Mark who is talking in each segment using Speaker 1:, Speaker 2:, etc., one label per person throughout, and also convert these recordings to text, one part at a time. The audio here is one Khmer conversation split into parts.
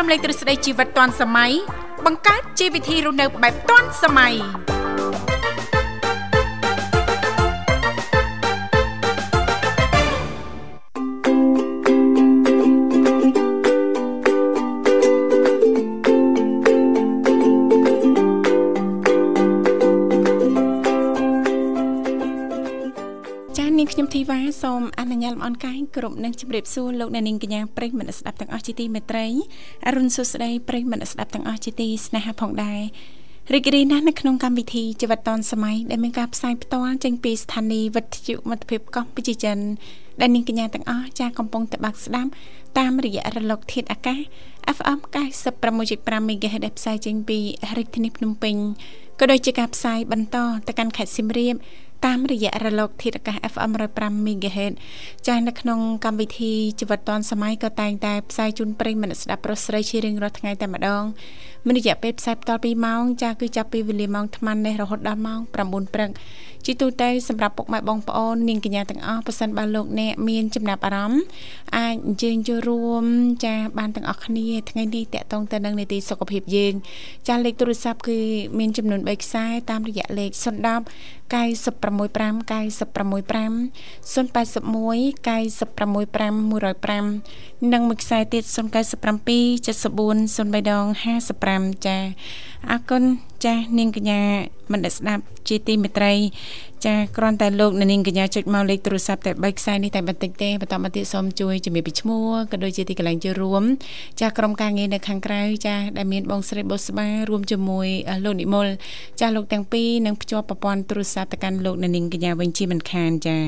Speaker 1: រំលែកទ្រឹស្ដីជីវិតទាន់សម័យបង្កើតជីវវិធីរស់នៅបែបទាន់សម័យចា៎នាងខ្ញុំធីវ៉ាសូមអនុញ្ញាតលំអរកាយគ្រប់នឹងជម្រាបសួរលោកអ្នកនាងកញ្ញាប្រិយមិត្តអ្នកស្ដាប់ទាំងអស់ជាទីមេត្រីអរុនសុស្ដីប្រិយមិត្តអ្នកស្ដាប់ទាំងអស់ជាទីស្នេហាផងដែររីករាយណាស់នៅក្នុងកម្មវិធីជីវិតឌុនសម័យដែលមានការផ្សាយផ្ទាល់ចេញពីស្ថានីយ៍វិទ្យុមិត្តភាពកម្ពុជាចិនដែលនាងកញ្ញាទាំងអស់ចាស់កំពុងតបាក់ស្ដាប់តាមរយៈរលកធាតុអាកាស FM 96.5 MHz ដែលផ្សាយចេញពីរាជធានីភ្នំពេញក៏ដូចជាការផ្សាយបន្តទៅកាន់ខេត្តសៀមរាបតាមរយៈរលកធាតុអាកាស FM 105 MHz ចាស់នៅក្នុងកម្មវិធីជីវិតឌុនសម័យក៏តែងតែផ្សាយជូនប្រិយមិត្តអ្នកស្ដាប់ប្រុសស្រីជារៀងរាល់ថ្ងៃតែម្ដងមានរយៈពេលផ្សាយបន្តពីម៉ោងចាស់គឺចាប់ពីវេលាម៉ោង8:00នេះរហូតដល់ម៉ោង9:00ព្រឹកជាទូទៅសម្រាប់ពុកម៉ែបងប្អូននាងកញ្ញាទាំងអស់ប៉ះសិនបើលោកអ្នកមានចំណាប់អារម្មណ៍អាចអញ្ជើញចូលរួមចាស់បានទាំងអស់គ្នាថ្ងៃនេះតកតងទៅនឹងនីតិសុខភាពយើងចាស់លេខទូរស័ព្ទគឺមានចំនួន3ខ្សែតាមរយៈលេខ010 965 965 081965105និងមួយខ្សែទៀត097 74 0355ចាអរគុណចានាងកញ្ញាមិនដែលស្ដាប់ជាទីមេត្រី ចាគ្រាន់តែលោកនាងកញ្ញាចុចមកលេខទូរស័ព្ទតែ3ខ្សែនេះតែបន្តិចទេបន្តមកទៀតសូមជួយជំរាបពីឈ្មោះក៏ដូចជាទីកន្លែងចូលរួម ចាក្រុមការងារនៅខាងក្រៅចាដែលមានបងស្រីបុស្បារួមជាមួយលោកនិមលចាលោកទាំងពីរនឹងភ្ជាប់ប្រព័ន្ធទូរស័ព្ទទៅកាន់លោកនាងកញ្ញាវិញជាមិនខានចា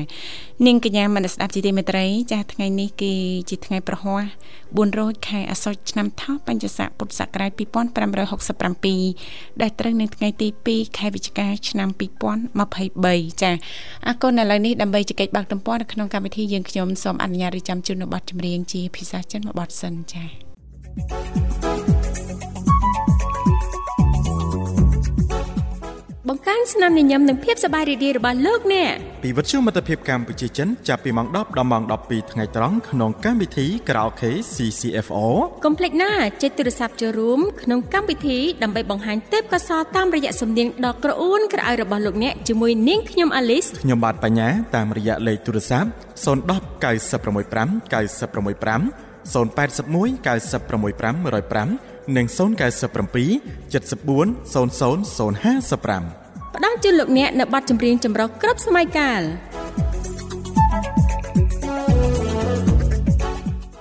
Speaker 1: នាងកញ្ញាមិនស្ដាប់ជាទីមេត្រី ចាថ្ងៃនេះគឺជាថ្ងៃប្រហ័ស400ខែអាសត់ឆ្នាំថោះបញ្ញស័កពុទ្ធសករាជ2567ដែលត្រូវនៅថ្ងៃទី2ខែវិច្ឆិកាឆ្នាំ2023ចាអរគុណឥឡូវនេះដើម្បីជែកបាក់ទំព័រនៅក្នុងកម្មវិធីយើងខ្ញុំសូមអនុញ្ញាតរៀបចំជូននៅបទចម្រៀងជាភាសាចិនមួយបទសិនចា thank you
Speaker 2: បង្កើនស្នាមញញឹមនិងភាពសប្បាយរីករាយរបស់លោកអ្នក
Speaker 3: ពីវិទ្យុមិត្តភាពកម្ពុជាចិនចាប់ពីម៉ោង10ដល់ម៉ោង12ថ្ងៃត្រង់ក្នុងកម្មវិធី Karaoke CCFO
Speaker 2: កុំភ្លេចណាចុចទូរស័ព្ទចូលរួមក្នុងកម្មវិធីដើម្បីបង្ហាញទេពកោសល្យតាមរយៈសំនៀងដ៏ក្រអួនក្រអៅរបស់លោកអ្នកជាមួយនាងខ្ញុំ Alice
Speaker 3: ខ្ញុំបាទបញ្ញាតាមរយៈលេខទូរស័ព្ទ010 965 965 081 965 105និង097 74 00055
Speaker 2: ផ្ដល់ជូនលោកអ្នកនៅប័ណ្ណចម្រៀងចម្រុះគ្រប់សម័យកាល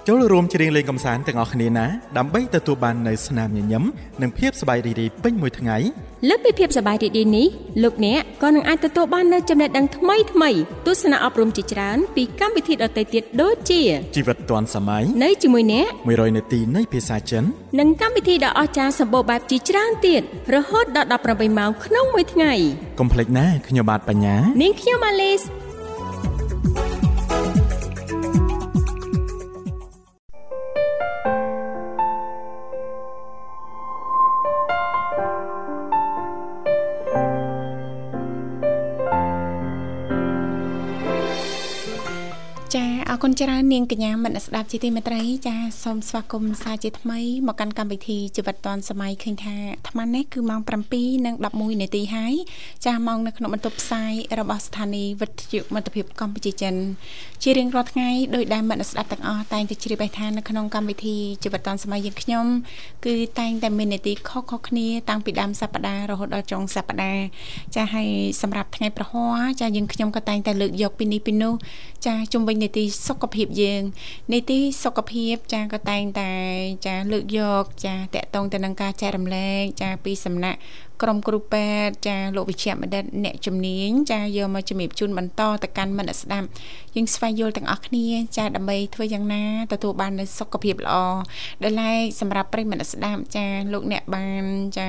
Speaker 3: ចូលរួមច្រៀងលេងកំសាន្តទាំងអស់គ្នាណាដើម្បីទទួលបាននូវស្នាមញញឹមនិងភាពសប្បាយរីករាយពេញមួយថ្ងៃ
Speaker 2: លើពីភាពសប្បាយរីករាយនេះលោកអ្នកក៏នឹងអាចទទួលបាននូវចំណេះដឹងថ្មីថ្មីទស្សនៈអប់រំជាច្រើនពីកម្មវិធីដទៃទៀតដូចជា
Speaker 3: ជីវិតឌွန်សម័យ
Speaker 2: នៅជាមួយអ្នក
Speaker 3: 100នាទីនៃភាសាចិន
Speaker 2: និងកម្មវិធីដ៏អស្ចារ្យសម្បូរបែបជាច្រើនទៀតរហូតដល់18ម៉ោងក្នុងមួយថ្ងៃ
Speaker 3: កុំភ្លេចណាខ្ញុំបាទបញ្ញា
Speaker 2: នាងខ្ញុំអាលីស
Speaker 1: អរគុណច្រើននាងកញ្ញាមិនស្ដាប់ជាទីមេត្រីចាសូមស្វាគមន៍សាជាថ្មីមកកាន់កម្មវិធីជីវិតឌွန်សម័យឃើញថាអាត្មានេះគឺម៉ោង7:11នាទីហើយចាម៉ោងនៅក្នុងបន្ទប់ផ្សាយរបស់ស្ថានីយ៍វិទ្យុមិត្តភាពកម្ពុជាចិនជារៀងរាល់ថ្ងៃដោយដែលមិនស្ដាប់ទាំងអស់តែងតែជ្រាបឯថានៅក្នុងកម្មវិធីជីវិតឌွန်សម័យយើងខ្ញុំគឺតែងតែមាននាទីខុសៗគ្នាតាំងពីដើមសប្ដាហ៍រហូតដល់ចុងសប្ដាហ៍ចាហើយសម្រាប់ថ្ងៃប្រហ័សចាយើងខ្ញុំក៏តែងតែលើកយកពីនេះពីនោះចាជុំវិញនាទីសុខភាពយើងនីតិសុខភាពចាក៏តែងតែចាលើកយកចាតកតងទៅនឹងការចែករំលែកចាពីសំណាក់ក្រុមគ្រូពេទ្យចាលោកវិជ្ជបណ្ឌិតអ្នកជំនាញចាយកមកជំរាបជូនបន្តទៅកាន់មិត្តស្ដាប់យើងស្វែងយល់ទាំងអស់គ្នាចាដើម្បីធ្វើយ៉ាងណាទទួលបាននូវសុខភាពល្អដែលឡែកសម្រាប់ប្រិយមិត្តស្ដាប់ចាលោកអ្នកបានចា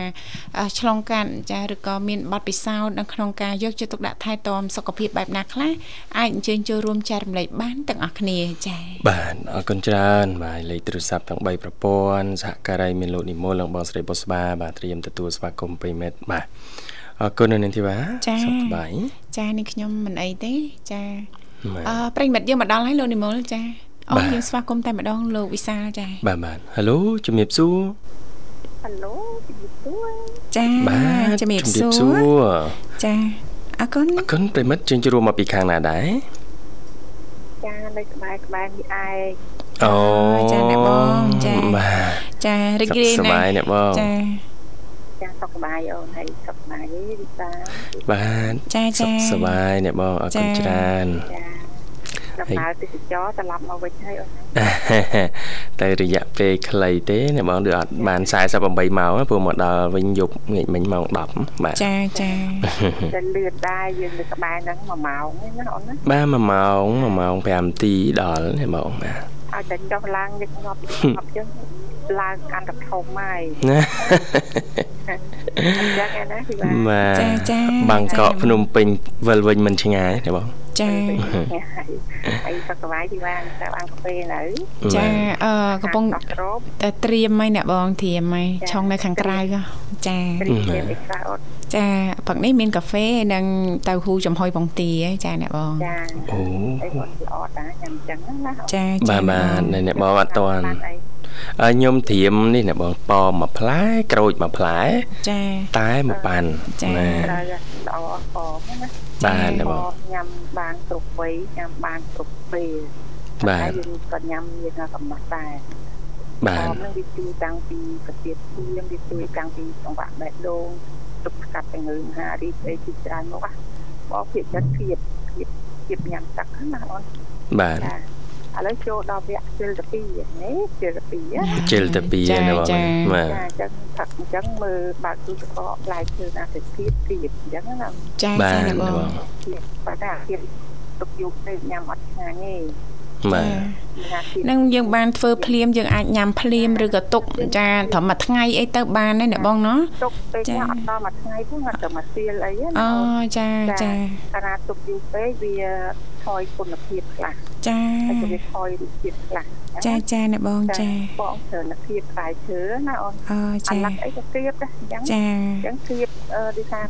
Speaker 1: ឆ្លងកាត់ចាឬក៏មានបទពិសោធន៍នៅក្នុងការយកចិត្តទុកដាក់ថែទាំសុខភាពបែបណាខ្លះអាចអញ្ជើញចូលរួមចែករំលែកបានទាំងអស់គ្នាចា
Speaker 4: បាទអរគុណច្រើនបាទលេខទូរស័ព្ទទាំង3ប្រព័ន្ធសហការីមានលោកនិមលនិងបងស្រីបុស្បាបាទត្រៀមទទួលស្វាគមន៍ពេញមិត្តបាទអរគុណនៅនាងធីវ៉ា
Speaker 1: សុ
Speaker 4: ខសប្បាយ
Speaker 1: ចានេះខ្ញុំមិនអីទេចាអឺប្រិមិត្តយើងមកដល់ហើយលោកនិមលចា អូ
Speaker 4: បាទ
Speaker 1: យើងស្វាគមន៍តែម្ដងលោកវិសាលចា
Speaker 4: បាទបាទ Halo ជំរាបសួរ
Speaker 5: ហឡូជំរាបសួរ
Speaker 1: ចា
Speaker 4: បាទ
Speaker 1: ជំរាបសួ
Speaker 4: សួ
Speaker 1: រ
Speaker 4: រ
Speaker 1: ចាអរគុណ
Speaker 4: អរគុណប្រិមិត្តជើងជួបមកពីខាងណាដែរ
Speaker 5: ចានៅក្បែរក្បែរនេះឯង
Speaker 4: អូ
Speaker 1: ចាអ្នកបងចា
Speaker 4: បាទ
Speaker 1: ចារីករាយ
Speaker 4: សុខស
Speaker 1: ណាស់
Speaker 4: ប្បាយអ្នកបង
Speaker 1: ចា
Speaker 5: ចាសុខសប្បាយអូនហើយសុខសប្បាយទេវិសា
Speaker 4: បាទ
Speaker 1: ចា
Speaker 4: សុ
Speaker 1: ចា
Speaker 4: ខសប្បាយអ្នកបងអរគុណ
Speaker 1: ចា
Speaker 4: ច្រើន
Speaker 5: ចាដំណើរទេសចរត្រឡប់មកវិញហើយអូនហើយ
Speaker 4: តែរយៈពេលខ្លីទេអ្នកបងដូចអត់បាន48ម៉ោងព្រោះមកដល់វិញយប់ងាយមិញម៉ោង10បាទ
Speaker 1: ចាចា
Speaker 5: តែលឿនដែរយើងនៅក្បែរហ្នឹង1ម៉ោងហ្នឹងណាអូនណា
Speaker 4: បាទ1ម៉ោង1ម៉ោង5នាទីដល់ហ្នឹងបងបាទ
Speaker 5: ឲ្យតែចុះឡើងញឹកញាប់ញឹកញាប់ចឹងឡើងកាន់តែធំហើយ
Speaker 4: ណា
Speaker 5: អញ្ចឹងឯណាវិសា
Speaker 4: បាទ
Speaker 1: ចាចា
Speaker 4: បាងកកភ្នំពេញវិលវិញមិនឆ្ងាយទេបង
Speaker 1: ចា
Speaker 5: ហើយ ហើយសុខសប្បាយវិសាតែបានកាហ្វេនៅ
Speaker 1: ចាអឺកំពុង
Speaker 5: ដោះគ្រប
Speaker 1: តែត្រៀមហ្មងអ្នកបងត្រៀមហ្មងឆុងនៅខាងក្រៅហ៎ចា
Speaker 5: ព្រីមអេក្រៅអត់
Speaker 1: ចាផឹកនេះមានកាហ្វេនិងតៅហ៊ូចំហុយបងទាចាអ្នកបង
Speaker 5: ចា
Speaker 4: អូ
Speaker 5: អីគាត់ល្អដែរញ៉ាំចឹងណាអូន
Speaker 1: ចា
Speaker 4: បាទបាទ
Speaker 1: អ្នកបង
Speaker 4: នៅអ្នកបងអត់តាន់
Speaker 5: បាន
Speaker 4: ឲ្យ
Speaker 5: អី
Speaker 4: ខ្ញុំត្រៀមនេះអ្នកបងប៉មួយផ្លែក្រូចមួយផ្លែ
Speaker 1: ចា
Speaker 4: តែមួយប៉ាន់
Speaker 1: ចា
Speaker 4: ណា
Speaker 5: ត្រូវល្អអស់ផងណា
Speaker 4: បាទអ្នកបង
Speaker 5: ផងញ៉ាំបានគ្រប់វ័យញ៉ាំបានគ្រប់ពេល
Speaker 4: បាទ
Speaker 5: ហើយយើងក៏ញ៉ាំមានកំណត់ដែរ
Speaker 4: បាទ
Speaker 5: ផងនឹងវាជួយតាំងពីប្រទេសធៀមវាជួយតាំងពីចង្វាក់បេះដូងទប់ស្កាត់ជំងឺមហារីកអីជាច្រើនមកណាបងភាគចិត្តធៀបធៀបធៀបញ៉ាំទឹកហ្នឹងណាអូន
Speaker 4: បាទ
Speaker 5: ចាឥឡូវចូលដល់វគ្គជិលទី2ណាជិលទី2ណា
Speaker 4: ជិលតាពី
Speaker 1: ចា
Speaker 4: ណាបង
Speaker 1: ចា
Speaker 4: បាទ
Speaker 5: ចាអញ្ចឹងផឹកអញ្ចឹងមើលបើកទូទឹកកកផ្លែឈើណាទៅទៀតទៀតអញ្ចឹងណា
Speaker 1: ចា
Speaker 4: បាទ
Speaker 1: ចាអ្ន
Speaker 4: អ្នក
Speaker 1: ក
Speaker 4: បង
Speaker 1: បង
Speaker 5: ទៀតបើថាទៀតទុកយូរពេកញ៉ាំអត់ឆ្ងាញ់ទេ
Speaker 4: បាទ
Speaker 5: ណាទៀត
Speaker 1: នឹងយើងបានធ្វើភ្លាមយើងអាចញ៉ាំភ្លាមឬក៏ទុកចាត្រឹមមួយថ្ងៃអីទៅបានណាអ្នកបងណោះ
Speaker 5: ទុកពេកណាអត់ដល់មួយថ្ងៃទេគាត់ទៅមកទៀលអីណា
Speaker 1: អូចាចា
Speaker 5: កាលណាទុកយូរពេកវាថយគុណភាពខ្លះ
Speaker 1: ចា
Speaker 5: ហើយក៏វាថយរសជាតិខ្លះ
Speaker 1: ចាចាអ្នកបងចា
Speaker 5: បងត្រូវនភាពផ្លែឈើណាអូន
Speaker 1: អូ
Speaker 5: អា
Speaker 1: ចា
Speaker 5: ឡាក់អីក៏ទៀតដែរអញ្ចឹង
Speaker 1: ចា
Speaker 5: ចឹងធៀបអឺដូចថា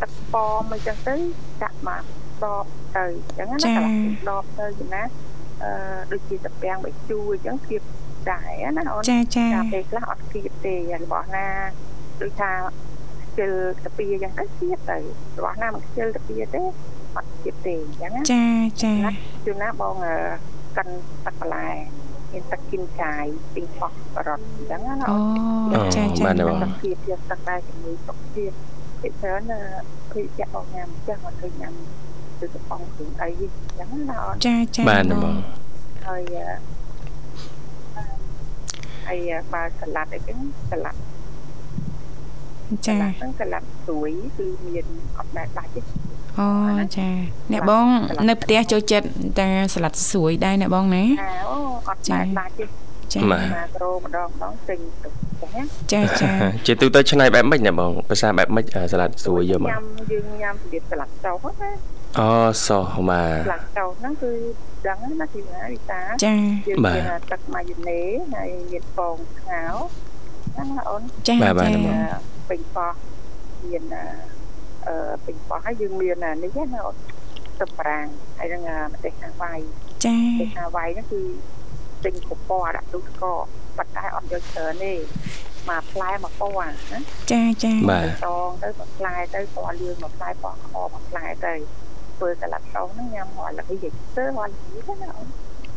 Speaker 5: ទឹកប៉មអីចឹងទៅដាក់មកដបទៅចឹងណាកន្លះដបទៅចឹងណាអឺដូចជាតាពាំងបីជួរចឹងធៀបដែរណាអូន
Speaker 1: ចាចា
Speaker 5: ចាពេលខ្លះអត់ធៀបទេរបស់ណាដូចថាខ្ជិលតាពីចឹងទៅធៀបទៅរបស់ណាមិនខ្ជិលតាពីទេអត់ធៀបទេចឹងណា
Speaker 1: ចាចា
Speaker 5: ជួនណាបងអឺកិនទឹកបន្លែមានទឹកគីនចាយពីផុសរត់ចឹងណាអូ
Speaker 1: អូ
Speaker 5: ន
Speaker 1: ចាចា
Speaker 4: បាទអ្នកបង
Speaker 5: សុខភាពយើងទឹកដែរជាមួយសុខភាពពីច្រើនណាពីចាក់អង្ញាំចាស់មកឃើញញ៉ាំគឺកំប៉ុងគ្រឿងអីអញ្ចឹងណាអូន
Speaker 1: ចាចា
Speaker 4: បាទអ្នកបង
Speaker 5: ហើយអឺហើយបើសាឡាត់អីចឹងសាឡាត់សា
Speaker 1: ចា
Speaker 5: ឡាត់ហ្នឹងសាឡាត់ស្រួយគឺមានអត់ដែរដាច់
Speaker 1: អូ
Speaker 5: ទេ
Speaker 1: ចាអ្នកបងនៅផ្ទះចូលចិត្តតាសាឡាត់ស្រួយដែរអ្នកបងណា
Speaker 5: អាអូអត់ដែរដាច់ទេ
Speaker 1: ចា
Speaker 4: បាទ
Speaker 5: មកក្រូម្ដងម្ដងពេញទៅចឹងណា
Speaker 1: ចាចា
Speaker 4: ជាទូទៅឆ្នៃបែបម៉េចអ្នកបងភាសាបែបម៉េចសាឡាត់ស្រួយយកមក
Speaker 5: ញ៉ាំយើងញ៉ាំពីសាឡាត់ចោលណា
Speaker 4: អូសោះបាទ
Speaker 5: សាឡាត់ចោលហ្នឹងគឺដឹងណាពីណាវិសា
Speaker 1: ចា
Speaker 5: យើង
Speaker 4: បាទ
Speaker 5: មានទឹកម៉ាយូណេហើយមានពងស្ងោរណាណាអូន
Speaker 1: ចា
Speaker 4: បាទបាទ
Speaker 1: ចា
Speaker 4: អ្នកបង
Speaker 5: ពេញប៉ោះមានអអឺពេញប៉ោះហើយយើងមានអានេះណាអូនទឹកប្រាំងហើយនឹងអាប្រទេសហាវ៉ៃ
Speaker 1: ចា
Speaker 5: ប្រទេសហាវ៉ៃហ្នឹងគឺពេញគ្រប់ពណ៌ដាក់ទូទឹកកកប៉ុន្តែអត់យកច្រើនទេមកផ្លែមកពណ៌ណា
Speaker 1: ចាចា
Speaker 4: បាទ
Speaker 5: តងទៅមកផ្លែទៅពណ៌លឿងមកផ្លែពណ៌ខមកផ្លែទៅធ្វើសាឡាត់តោហ្នឹងញ៉ាំហល់ល្ហិយទៅហល់ល្ហិយទៅណាអូន